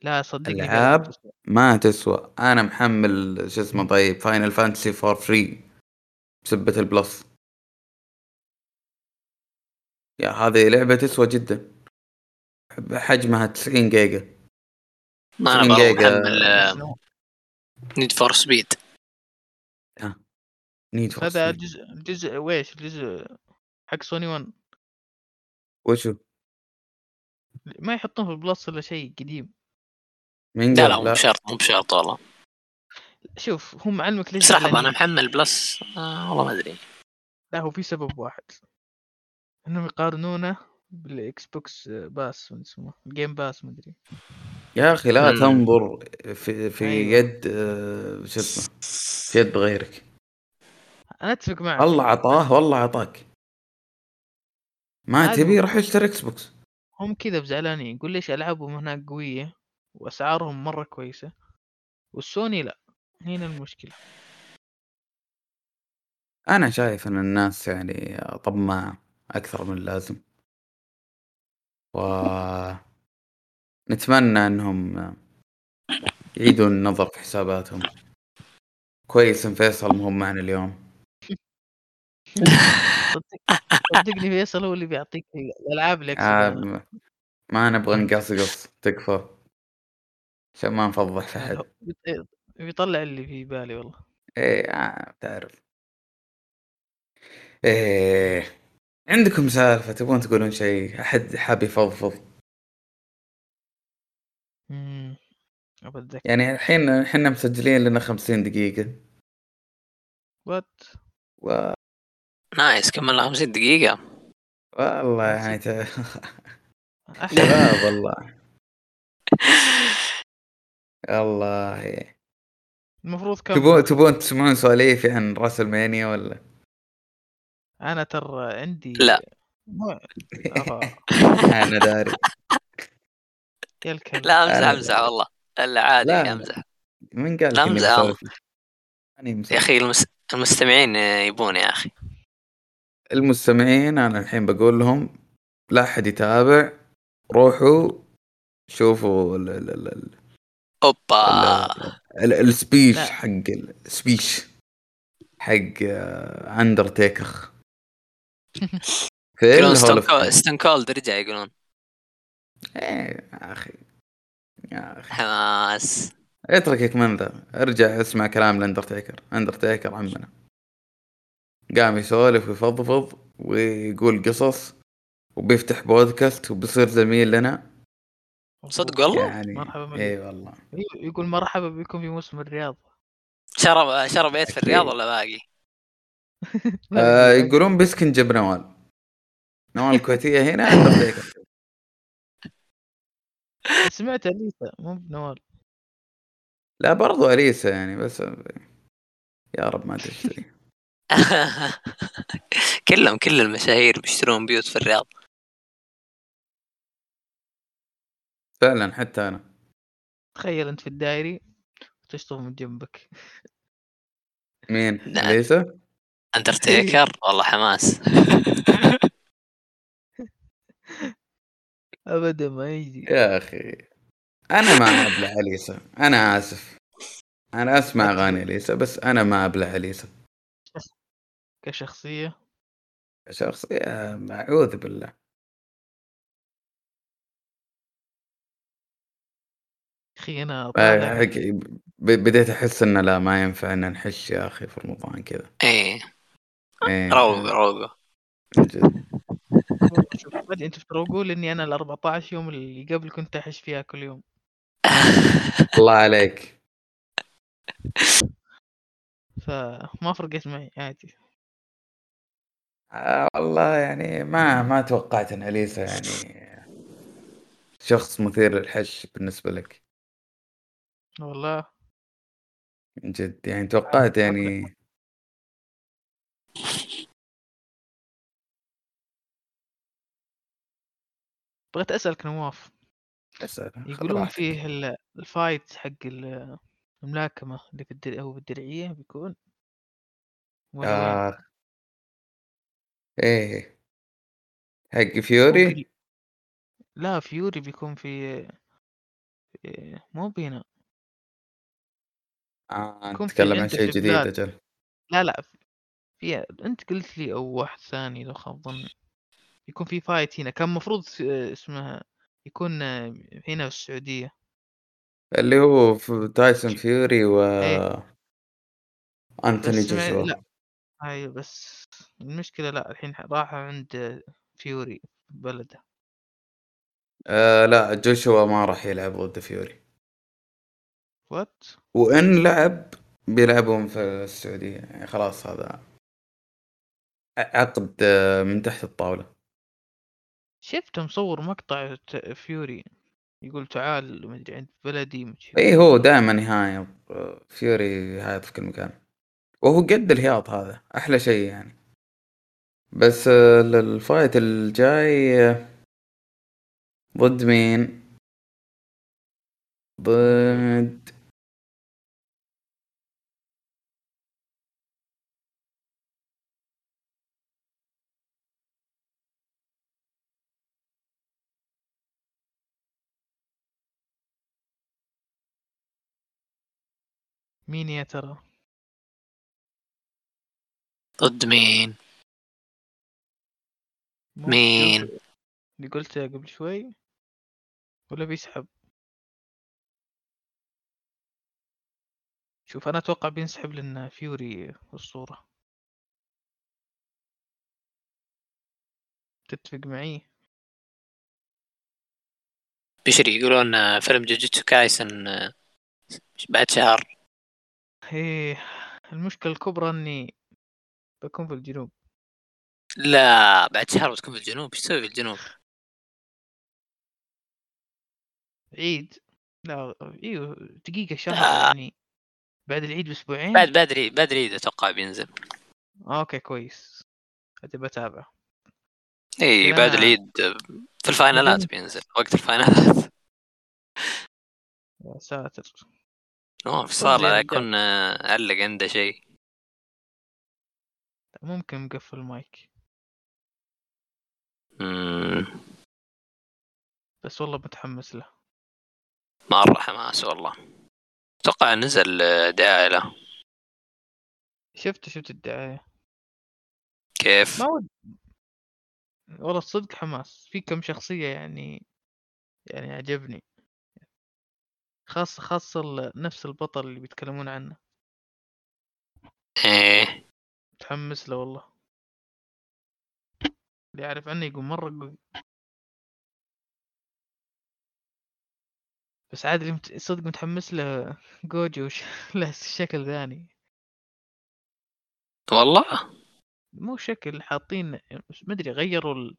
[SPEAKER 1] لا صدقني قاعد
[SPEAKER 2] ألعاب.
[SPEAKER 1] أتسوق.
[SPEAKER 2] ما تسوى انا محمل شو اسمه طيب فاينل فانتسي فور فري بسبة البلس يا هذه لعبة تسوى جدا حجمها 90 جيجا
[SPEAKER 3] ما أنا
[SPEAKER 2] 90
[SPEAKER 3] آه، برضو
[SPEAKER 2] جيجا.
[SPEAKER 3] محمل
[SPEAKER 1] شنو؟
[SPEAKER 3] نيد فور سبيد
[SPEAKER 2] نيد فور
[SPEAKER 1] هذا جزء جزء ويش جزء حق سوني 1
[SPEAKER 2] وشو؟
[SPEAKER 1] ما يحطون في البلس ولا شيء قديم
[SPEAKER 2] من
[SPEAKER 3] لا
[SPEAKER 2] قال
[SPEAKER 3] لا مو بشرط مو بشرط والله
[SPEAKER 1] شوف هم علمك ليش
[SPEAKER 3] بس لحظة
[SPEAKER 1] زعلانين؟
[SPEAKER 3] أنا محمل بلس آه والله ما أدري
[SPEAKER 1] لا هو في سبب واحد انهم يقارنونه بالاكس بوكس آه، باس من اسمه الجيم باس مدري
[SPEAKER 2] يا اخي لا
[SPEAKER 3] مم.
[SPEAKER 2] تنظر في في
[SPEAKER 1] أيوة.
[SPEAKER 2] يد آه، شو اسمه في يد غيرك
[SPEAKER 1] انا اتفق معك
[SPEAKER 2] الله عطاه والله عطاك ما
[SPEAKER 1] عادي.
[SPEAKER 2] تبي روح اشتري اكس بوكس
[SPEAKER 1] هم كذا بزعلانين يقول ليش العابهم هناك قويه واسعارهم مره كويسه والسوني لا هنا المشكله
[SPEAKER 2] انا شايف ان الناس يعني طماعه اكثر من اللازم و نتمنى انهم يعيدوا النظر في حساباتهم كويس ان فيصل مهم معنا اليوم
[SPEAKER 1] صدقني فيصل هو اللي بيعطيك الالعاب اللي يكسبها.
[SPEAKER 2] آه، ما نبغى نقصقص تكفى عشان ما نفضح في احد
[SPEAKER 1] بيط- بيطلع اللي في بالي والله
[SPEAKER 2] ايه آه، تعرف ايه عندكم سالفة تبون تقولون شيء احد حاب يفضفض
[SPEAKER 1] امم اتذكر
[SPEAKER 2] يعني الحين احنا مسجلين لنا 50 دقيقة
[SPEAKER 1] وات
[SPEAKER 2] و...
[SPEAKER 3] نايس كملنا 50 دقيقة
[SPEAKER 2] والله يعني ت...
[SPEAKER 1] احسن
[SPEAKER 2] شباب والله الله
[SPEAKER 1] المفروض كم
[SPEAKER 2] تبون تبون تسمعون سواليفي عن راس المانيا ولا
[SPEAKER 1] انا ترى عندي
[SPEAKER 3] لا.
[SPEAKER 1] مو- أفا،
[SPEAKER 2] انا داري
[SPEAKER 1] يا الكلب
[SPEAKER 3] لا امزح
[SPEAKER 2] أنا-
[SPEAKER 3] امزح والله لا عادي
[SPEAKER 2] لا، لا.
[SPEAKER 3] امزح
[SPEAKER 2] من قال
[SPEAKER 3] لا
[SPEAKER 2] لك اني
[SPEAKER 3] أمزح.
[SPEAKER 2] مسوي؟ أنا مسوي.
[SPEAKER 3] يا اخي المس... المستمعين يبون يا اخي
[SPEAKER 2] المستمعين انا الحين بقول لهم لا احد يتابع روحوا شوفوا ال- ال- ال- ال-
[SPEAKER 3] اوبا
[SPEAKER 2] ال- السبيش
[SPEAKER 1] آه. لا.
[SPEAKER 2] حق السبيش حق آه، اندرتيكر في
[SPEAKER 3] يقولون
[SPEAKER 2] ال Hall of Fame.
[SPEAKER 3] ستون كولد رجع يقولون
[SPEAKER 2] ايه يا اخي يا اخي
[SPEAKER 3] حماس
[SPEAKER 2] اتركك من ذا ارجع اسمع كلام الاندرتيكر اندرتيكر عمنا قام يسولف ويفضفض ويقول قصص وبيفتح بودكاست وبيصير زميل لنا
[SPEAKER 3] صدق والله
[SPEAKER 2] يعني
[SPEAKER 1] مرحبا بك.
[SPEAKER 2] اي والله
[SPEAKER 1] يقول مرحبا بكم في موسم الرياض
[SPEAKER 3] شرب شرب بيت في
[SPEAKER 2] أكيد.
[SPEAKER 3] الرياض ولا باقي؟
[SPEAKER 2] آه يقولون بيسكن جب نوال نوال الكويتيه هنا اندرتيكر
[SPEAKER 1] سمعت اليسا مو بنوال
[SPEAKER 2] لا برضو اليسا يعني بس يا رب ما تشتري
[SPEAKER 3] كلهم كل المشاهير بيشترون بيوت في الرياض
[SPEAKER 2] فعلا حتى انا
[SPEAKER 1] تخيل انت في الدائري وتشطف من جنبك
[SPEAKER 2] مين
[SPEAKER 3] نعم.
[SPEAKER 2] اليسا
[SPEAKER 3] اندرتيكر والله حماس
[SPEAKER 1] ابدا ما يجي
[SPEAKER 2] يا اخي انا ما ابلع اليسا انا اسف انا اسمع
[SPEAKER 1] أكيد.
[SPEAKER 2] اغاني اليسا بس انا ما ابلع اليسا
[SPEAKER 1] كشخصيه
[SPEAKER 2] شخصية اعوذ بالله
[SPEAKER 1] اخي انا
[SPEAKER 2] آه،
[SPEAKER 1] طالع
[SPEAKER 2] حقي، ب- بديت احس انه لا ما ينفع ان نحش يا اخي في رمضان كذا
[SPEAKER 3] ايه
[SPEAKER 2] إيه،
[SPEAKER 3] روقوا روقوا
[SPEAKER 2] من جد.
[SPEAKER 1] شوف بدي انتم تروقوا لاني انا ال 14 يوم اللي قبل كنت احش فيها كل يوم
[SPEAKER 2] الله عليك
[SPEAKER 1] فما فرقت معي عادي
[SPEAKER 2] آه، والله يعني ما ما توقعت ان اليسا يعني شخص مثير للحش بالنسبة لك
[SPEAKER 1] والله
[SPEAKER 2] من جد يعني توقعت يعني
[SPEAKER 1] بغيت اسالك نواف يقولون
[SPEAKER 2] براحتك.
[SPEAKER 1] فيه ال- الفايت حق ال- الملاكمه اللي بالدرع او بالدرعيه بيكون ولا وين؟
[SPEAKER 2] آه. ايه حق
[SPEAKER 1] مو
[SPEAKER 2] فيوري
[SPEAKER 1] بال- لا فيوري بيكون في في- مو بينا
[SPEAKER 2] آه
[SPEAKER 1] يكون في
[SPEAKER 2] نتكلم عن
[SPEAKER 1] عنده
[SPEAKER 2] شيء جديد
[SPEAKER 1] شغلات.
[SPEAKER 2] اجل
[SPEAKER 1] لا لا في انت قلت لي او واحد ثاني لو خاب ظني يكون في فايت هنا كان مفروض س- اسمها يكون هنا في السعوديه
[SPEAKER 2] اللي هو في تايسون فيوري و
[SPEAKER 1] إيه.
[SPEAKER 2] انتوني
[SPEAKER 1] بس سمع-
[SPEAKER 2] جوشوا
[SPEAKER 1] لا. هاي بس المشكله لا الحين راح عند فيوري بلده
[SPEAKER 2] آه لا جوشوا ما راح يلعب ضد فيوري
[SPEAKER 1] وات
[SPEAKER 2] وان لعب بيلعبون في السعوديه يعني خلاص هذا ع- عقد آه، من تحت الطاوله
[SPEAKER 1] شفت مصور مقطع ت- فيوري يقول تعال مدري عند بلدي مدري
[SPEAKER 2] اي هو دائما يهايط آه، فيوري يهايط في كل مكان وهو قد الهياط هذا احلى شيء يعني بس آه، ال- الفايت الجاي آه، ضد مين ضد
[SPEAKER 1] مين يا ترى
[SPEAKER 3] ضد مين؟
[SPEAKER 1] مو
[SPEAKER 3] مين؟
[SPEAKER 1] جوكر اللي قلته قبل شوي ولا بيسحب شوف انا اتوقع بينسحب لان فيوري في الصورة تتفق معي
[SPEAKER 3] بشري يقولون آه، فيلم جوجيتسو كايسن آه، بعد شهر
[SPEAKER 1] هي إيه، المشكلة الكبرى اني بكون في الجنوب
[SPEAKER 3] لا بعد شهر بتكون في الجنوب ايش تسوي في الجنوب؟
[SPEAKER 1] إيه. عيد لا ايوه دقيقة شهر
[SPEAKER 3] لا.
[SPEAKER 1] يعني بعد العيد باسبوعين
[SPEAKER 3] بعد بدري بدري اتوقع بينزل
[SPEAKER 1] اوكي آه، كويس هذا بتابع
[SPEAKER 3] اي
[SPEAKER 1] لا. إيه.
[SPEAKER 3] بعد العيد آه، في الفاينالات
[SPEAKER 1] أظن-
[SPEAKER 3] بينزل وقت الفاينالات
[SPEAKER 1] يا ساتر
[SPEAKER 3] اوه في
[SPEAKER 1] يا
[SPEAKER 3] صالة
[SPEAKER 1] رجال.
[SPEAKER 3] يكون آه، علق عنده شيء
[SPEAKER 1] ممكن مقفل المايك
[SPEAKER 3] مم،
[SPEAKER 1] بس والله متحمس له
[SPEAKER 3] مرة حماس والله اتوقع نزل آه، دعاية له
[SPEAKER 1] شفت شفت الدعاية
[SPEAKER 3] كيف؟
[SPEAKER 1] ما ود والله الصدق حماس في كم شخصية يعني يعني عجبني خاصة خاصة ال- نفس البطل اللي بيتكلمون عنه
[SPEAKER 3] ايه
[SPEAKER 1] متحمس له والله اللي يعرف عنه يقول مرة قوي بس عاد اللي مت- صدق متحمس له جوجو ش... له شكل ثاني
[SPEAKER 3] والله
[SPEAKER 1] مو شكل حاطين ما ادري غيروا ال-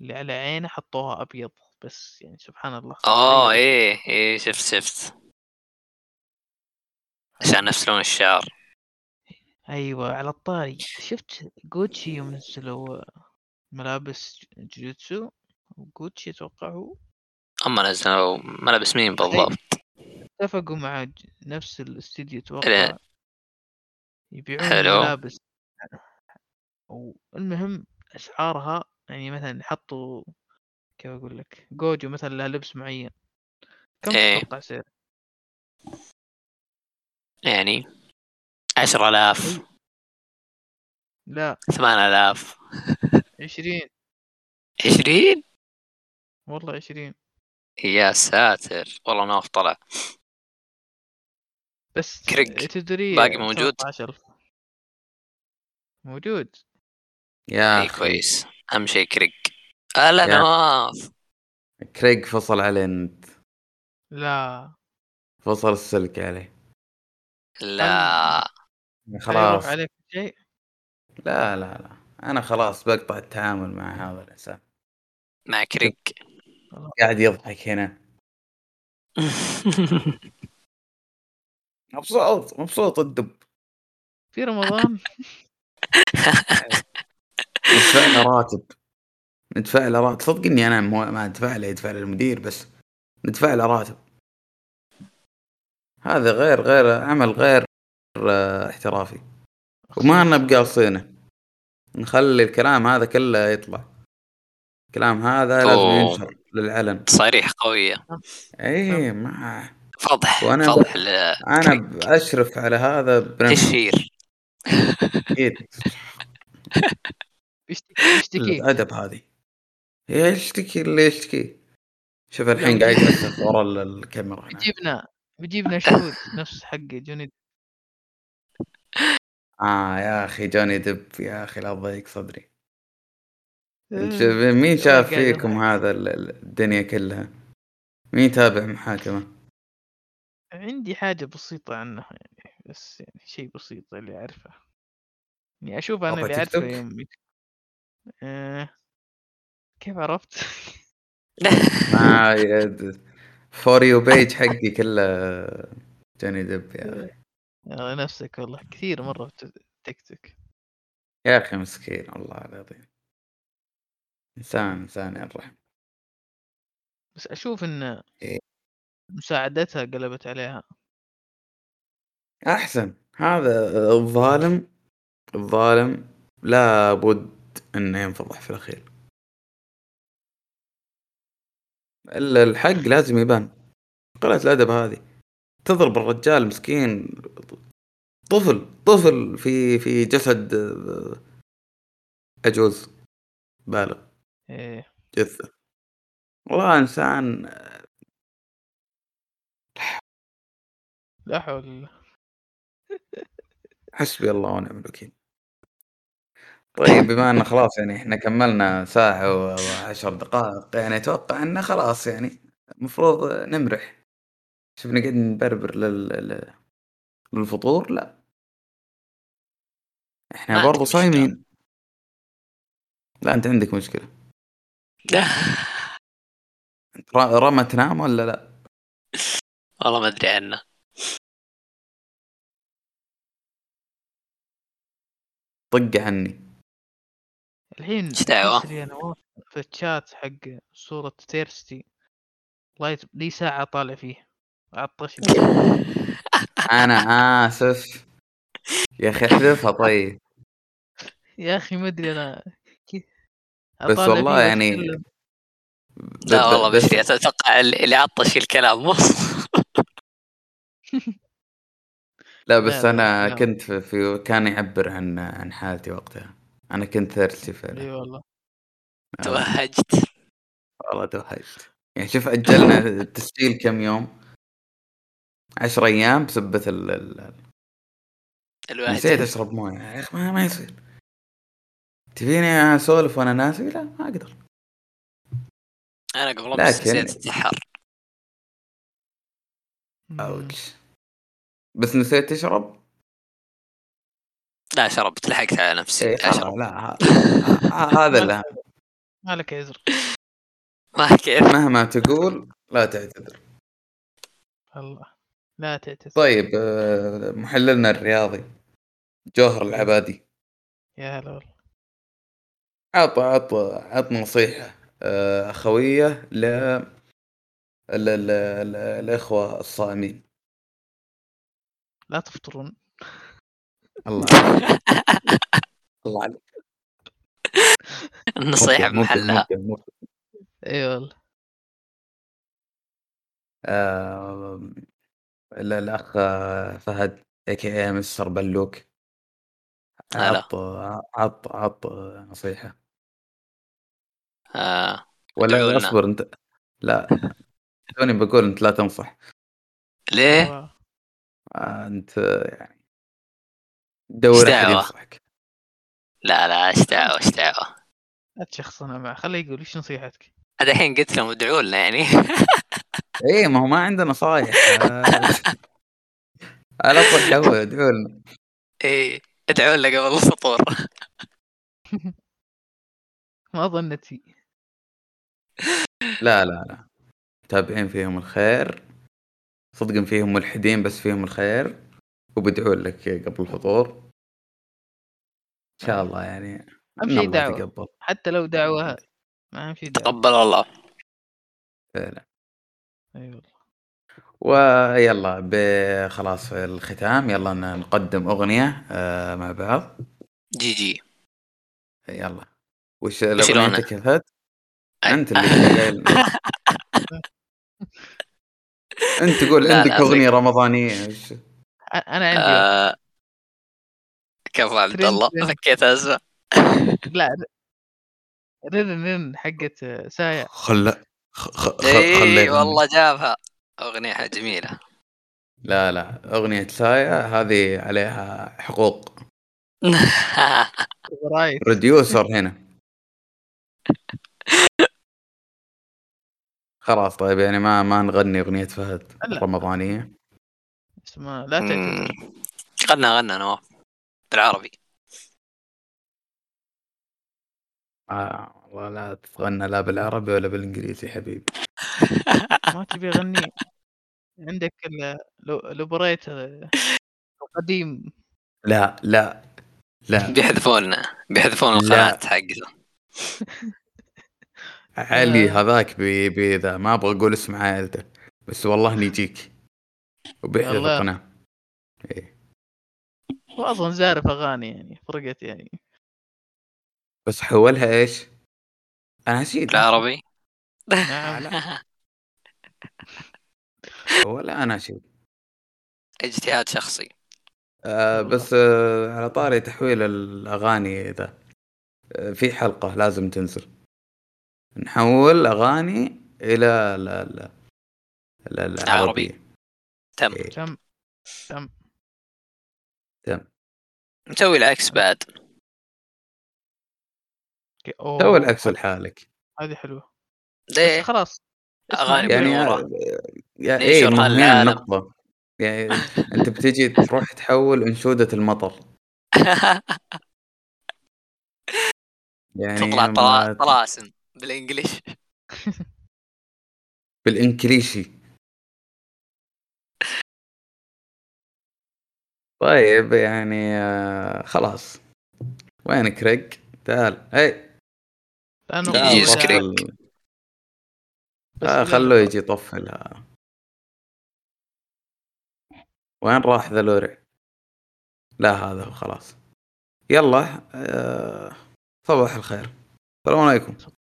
[SPEAKER 1] اللي على عينه حطوها ابيض بس يعني سبحان الله أيوة.
[SPEAKER 3] اوه
[SPEAKER 1] غيروا.
[SPEAKER 3] ايه ايه شفت شفت عشان نفس لون الشعر
[SPEAKER 1] ايوه على الطاري شفت جوتشي يوم نزلوا ملابس جوجيتسو جوتشي اتوقع هو
[SPEAKER 3] اما نزلوا ملابس مين بالضبط؟
[SPEAKER 1] اتفقوا مع ج- نفس الاستديو
[SPEAKER 3] حلو.
[SPEAKER 1] اتوقع يبيعون
[SPEAKER 3] حلو.
[SPEAKER 1] ملابس والمهم اسعارها يعني مثلا حطوا كيف اقول لك جوجو مثلا لها لبس معين كم
[SPEAKER 3] إيه.
[SPEAKER 1] تتوقع سعر إيه.
[SPEAKER 3] يعني عشرة آلاف
[SPEAKER 1] لا
[SPEAKER 3] ثمان آلاف
[SPEAKER 1] عشرين
[SPEAKER 3] عشرين
[SPEAKER 1] والله عشرين
[SPEAKER 3] يا ساتر والله إيه، نواف طلع
[SPEAKER 1] بس
[SPEAKER 3] كريك.
[SPEAKER 1] تدري
[SPEAKER 3] باقي موجود؟
[SPEAKER 1] 13000. موجود
[SPEAKER 2] يا
[SPEAKER 3] اي
[SPEAKER 2] أخي
[SPEAKER 3] كويس اهم شيء كريك هلا
[SPEAKER 2] يا.
[SPEAKER 3] نواف
[SPEAKER 2] كريج فصل عليه انت
[SPEAKER 1] لا
[SPEAKER 2] فصل السلك عليه
[SPEAKER 3] لا
[SPEAKER 1] لا
[SPEAKER 2] خلاص
[SPEAKER 1] يروح عليك شيء
[SPEAKER 2] لا لا لا انا خلاص بقطع التعامل مع هذا الانسان
[SPEAKER 3] مع كريك
[SPEAKER 2] قاعد يضحك هنا مبسوط مبسوط الدب
[SPEAKER 1] في رمضان
[SPEAKER 2] ندفع له راتب ندفع له راتب صدق اني انا مو- ما ادفع له يدفع للمدير بس ندفع له راتب هذا غير غير عمل غير آه، احترافي وما لنا بقاصينه نخلي الكلام هذا كله يطلع الكلام هذا لازم
[SPEAKER 3] أوه.
[SPEAKER 2] ينشر للعلن
[SPEAKER 3] تصاريح قوية
[SPEAKER 2] اي ما
[SPEAKER 3] فضح
[SPEAKER 2] وأنا-
[SPEAKER 3] فضح ل-
[SPEAKER 2] انا اشرف على هذا بنفسي
[SPEAKER 3] تشهير
[SPEAKER 2] أكيد.
[SPEAKER 1] يشتكي يشتكي
[SPEAKER 2] الادب هذه يشتكي اللي يشتكي شوف الحين قاعد يتأسف ورا ال- الكاميرا هنا.
[SPEAKER 1] بيجيبنا بيجيبنا شهود نفس حق جوني ديب.
[SPEAKER 2] اه يا اخي جوني دب يا اخي لا تضيق صدري انت
[SPEAKER 1] آه،
[SPEAKER 2] مين شاف
[SPEAKER 1] قاعد يضحك.
[SPEAKER 2] فيكم هذا ال- ال- الدنيا كلها مين تابع محاكمه
[SPEAKER 1] عندي حاجة بسيطة عنه يعني بس يعني شيء بسيط اللي أعرفه إني أشوف أنا
[SPEAKER 2] موقع
[SPEAKER 1] اللي
[SPEAKER 2] تيك
[SPEAKER 1] أعرفه
[SPEAKER 2] توك؟
[SPEAKER 1] يوم يت- آه، كيف عرفت؟
[SPEAKER 2] ما فور يو بيج حقي كله جوني دب يا اخي
[SPEAKER 1] آه، نفسك والله كثير مرة في تيك توك
[SPEAKER 2] يا اخي مسكين والله العظيم انسان انسان يا الرحمن
[SPEAKER 1] بس أشوف إن
[SPEAKER 2] إيه.
[SPEAKER 1] مساعدتها قلبت عليها
[SPEAKER 2] احسن هذا الظالم الظالم لابد انه ينفضح في الاخير الا الحق لازم يبان قلة الادب هذه تضرب الرجال مسكين طفل طفل في في جسد آه، أجوز بالغ
[SPEAKER 1] ايه
[SPEAKER 2] جثة والله إنسان
[SPEAKER 1] لا حول ولا قوة.
[SPEAKER 2] حسبي الله ونعم الوكيل طيب بما ان خلاص يعني احنا كملنا ساعة و- وعشر دقائق يعني اتوقع انه خلاص يعني المفروض نمرح شوف نقعد نبربر لل... لل- للفطور لا
[SPEAKER 3] ما
[SPEAKER 2] احنا
[SPEAKER 3] عندي
[SPEAKER 2] برضو
[SPEAKER 3] مشكلة.
[SPEAKER 2] صايمين لا انت عندك مشكلة
[SPEAKER 3] لا
[SPEAKER 2] ر- رمى تنام ولا لا
[SPEAKER 3] والله ما ادري عنه
[SPEAKER 2] طق عني
[SPEAKER 1] الحين
[SPEAKER 3] إيش دعوة؟
[SPEAKER 1] أدري انا واقف في الشات حق صورة تيرستي والله يت- لي ساعة طالع فيه عطش
[SPEAKER 2] إيه. انا اسف يا اخي احذفها طيب
[SPEAKER 1] يا اخي ما ادري انا كي-
[SPEAKER 2] بس
[SPEAKER 1] أطالع
[SPEAKER 2] والله
[SPEAKER 1] فيه
[SPEAKER 2] يعني
[SPEAKER 1] وأتكلم.
[SPEAKER 3] لا والله
[SPEAKER 2] بس- آه.
[SPEAKER 3] مشكلة اتوقع اللي عطش الكلام مصر
[SPEAKER 2] لا
[SPEAKER 1] لا
[SPEAKER 2] بس
[SPEAKER 1] لا،
[SPEAKER 2] انا
[SPEAKER 1] لا.
[SPEAKER 2] كنت في, في كان يعبر عن عن حالتي وقتها انا كنت ثيرستي
[SPEAKER 1] اي
[SPEAKER 2] فعلا
[SPEAKER 1] والله أيوة.
[SPEAKER 2] آه،
[SPEAKER 3] توهجت
[SPEAKER 2] والله توهجت يعني شوف اجلنا التسجيل كم يوم عشر ايام بسبة ال ال-
[SPEAKER 3] الواحد
[SPEAKER 2] نسيت اشرب مويه يا اخي ما, ما يصير تبيني اسولف وانا ناسي لا ما اقدر
[SPEAKER 3] انا قبل امس
[SPEAKER 2] لكن-
[SPEAKER 3] نسيت اتسحر
[SPEAKER 2] اوتش بس نسيت تشرب؟
[SPEAKER 3] لا شربت لحقت على نفسي
[SPEAKER 2] إيه، خلاص،
[SPEAKER 3] اشرب
[SPEAKER 2] لا ه- ه- هذا اللي
[SPEAKER 1] ما لك عذر
[SPEAKER 3] ما كيف
[SPEAKER 2] مهما تقول لا تعتذر
[SPEAKER 1] الله لا تعتذر
[SPEAKER 2] طيب آه، محللنا الرياضي جوهر العبادي
[SPEAKER 1] يا هلا والله
[SPEAKER 2] عط عط عط نصيحة آه، أخوية ل ل- ل- ل- الإخوة الصائمين
[SPEAKER 1] لا تفطرون
[SPEAKER 2] الله عليك الله عليك
[SPEAKER 3] النصيحة
[SPEAKER 2] ممكن- ممكن-
[SPEAKER 3] بمحلها
[SPEAKER 2] ممكن- ممكن.
[SPEAKER 1] اي والله
[SPEAKER 2] آه، ال- الأخ فهد اي كي اي مستر بلوك
[SPEAKER 3] هلا.
[SPEAKER 2] عط عط عط نصيحة
[SPEAKER 3] آه. ادعوا
[SPEAKER 2] ولا
[SPEAKER 3] لنا.
[SPEAKER 2] اصبر أنت لا توني بقول أنت لا تنصح إيه.
[SPEAKER 3] ليه؟
[SPEAKER 1] والله.
[SPEAKER 2] آه، أنت يعني دور أحد
[SPEAKER 3] دعوة؟
[SPEAKER 2] ينصحك
[SPEAKER 3] لا لا ايش دعوة ايش دعوة
[SPEAKER 1] لا تشخصنا معه خليه يقول ايش نصيحتك
[SPEAKER 3] هذا الحين قلت لهم ادعوا لنا يعني
[SPEAKER 2] ايه ما هو ما عندنا آه، نصايح على طول هو ادعوا لنا
[SPEAKER 3] ايه ادعوا لنا قبل الفطور
[SPEAKER 1] ما ظنتي
[SPEAKER 2] لا لا لا تابعين فيهم الخير صدقا فيهم ملحدين بس فيهم الخير وبدعوا لك قبل الفطور ان شاء الله يعني
[SPEAKER 1] أهم
[SPEAKER 2] ان
[SPEAKER 1] شي
[SPEAKER 2] الله
[SPEAKER 1] دعوة.
[SPEAKER 2] يتقبل
[SPEAKER 1] حتى لو دعوة ما أهم شي دعوة
[SPEAKER 3] تقبل الله
[SPEAKER 2] فعلا
[SPEAKER 1] اي والله
[SPEAKER 2] ويلا ب- خلاص في الختام يلا ن- نقدم اغنيه آه، مع بعض
[SPEAKER 3] جي جي
[SPEAKER 2] يلا وش
[SPEAKER 3] الأغنية؟
[SPEAKER 2] الاغنيه انت كفت انت اللي قايل انت تقول
[SPEAKER 3] لا،
[SPEAKER 2] عندك
[SPEAKER 3] لا،
[SPEAKER 2] اغنيه رمضانيه إيش-
[SPEAKER 1] أ- انا عندي واحد.
[SPEAKER 3] آه. كفو عبد
[SPEAKER 1] ترند
[SPEAKER 3] الله
[SPEAKER 1] ترند.
[SPEAKER 3] فكيت ازمه
[SPEAKER 1] لا ر- رن رن حقت سايع
[SPEAKER 2] خلا خ... خ... خ...
[SPEAKER 3] اي
[SPEAKER 2] خلينا-
[SPEAKER 3] إيه، والله جابها اغنية جميلة
[SPEAKER 2] لا لا اغنيه سايا هذه عليها حقوق
[SPEAKER 1] رايت
[SPEAKER 2] بروديوسر هنا خلاص طيب يعني ما ما نغني اغنيه فهد
[SPEAKER 1] لا.
[SPEAKER 2] رمضانيه
[SPEAKER 1] اسمها لا تعتذر
[SPEAKER 3] مم. غنى غنى نواف بالعربي
[SPEAKER 2] آه والله لا تتغنى لا بالعربي ولا بالانجليزي حبيبي
[SPEAKER 1] ما تبي غني عندك ال- آه، لو- الاوبريتر قديم
[SPEAKER 2] لا لا لا
[SPEAKER 3] بيحذفونا بيحذفون القناة حقته
[SPEAKER 2] علي
[SPEAKER 1] آه.
[SPEAKER 2] هذاك بي بي ذا ما ابغى اقول اسم عائلته بس والله نجيك وبيحذف
[SPEAKER 1] والله.
[SPEAKER 2] القناه
[SPEAKER 1] واصلا زارف اغاني يعني فرقت يعني
[SPEAKER 2] بس حولها ايش؟ انا نسيت
[SPEAKER 3] بالعربي
[SPEAKER 1] نعم
[SPEAKER 2] ولا انا شيء
[SPEAKER 3] اجتهاد شخصي
[SPEAKER 2] آه بس آه على طاري تحويل الاغاني ذا آه في حلقه لازم تنزل نحول اغاني الى لا لا لا العربيه
[SPEAKER 3] تم
[SPEAKER 2] إيه.
[SPEAKER 1] تم
[SPEAKER 3] نسوي العكس بعد
[SPEAKER 1] أوكي، أوه،
[SPEAKER 2] سوي العكس لحالك
[SPEAKER 1] هذه حلوه
[SPEAKER 3] ليه
[SPEAKER 1] بس خلاص
[SPEAKER 3] إيه. أغاني
[SPEAKER 1] يعني
[SPEAKER 2] يعني
[SPEAKER 3] بالورا.
[SPEAKER 2] آه، يا ايه
[SPEAKER 3] ننشرها
[SPEAKER 2] مهمين
[SPEAKER 3] للعالم.
[SPEAKER 2] نقطه يعني انت بتجي تروح تحول انشوده المطر يعني
[SPEAKER 3] تطلع
[SPEAKER 2] ما-
[SPEAKER 3] طلا- طلاسم بالانجلش
[SPEAKER 2] بالانكليشي طيب يعني آه، خلاص وين كريج تعال إيه، هاي
[SPEAKER 1] لانه
[SPEAKER 3] لا، يجي
[SPEAKER 2] تعال
[SPEAKER 1] بس-
[SPEAKER 2] طفل.
[SPEAKER 3] كريج.
[SPEAKER 1] بس
[SPEAKER 2] آه
[SPEAKER 1] لأنه-
[SPEAKER 2] خلوه يجي طفلها وين راح ذا لوري لا هذا هو خلاص يلا آه صباح الخير السلام عليكم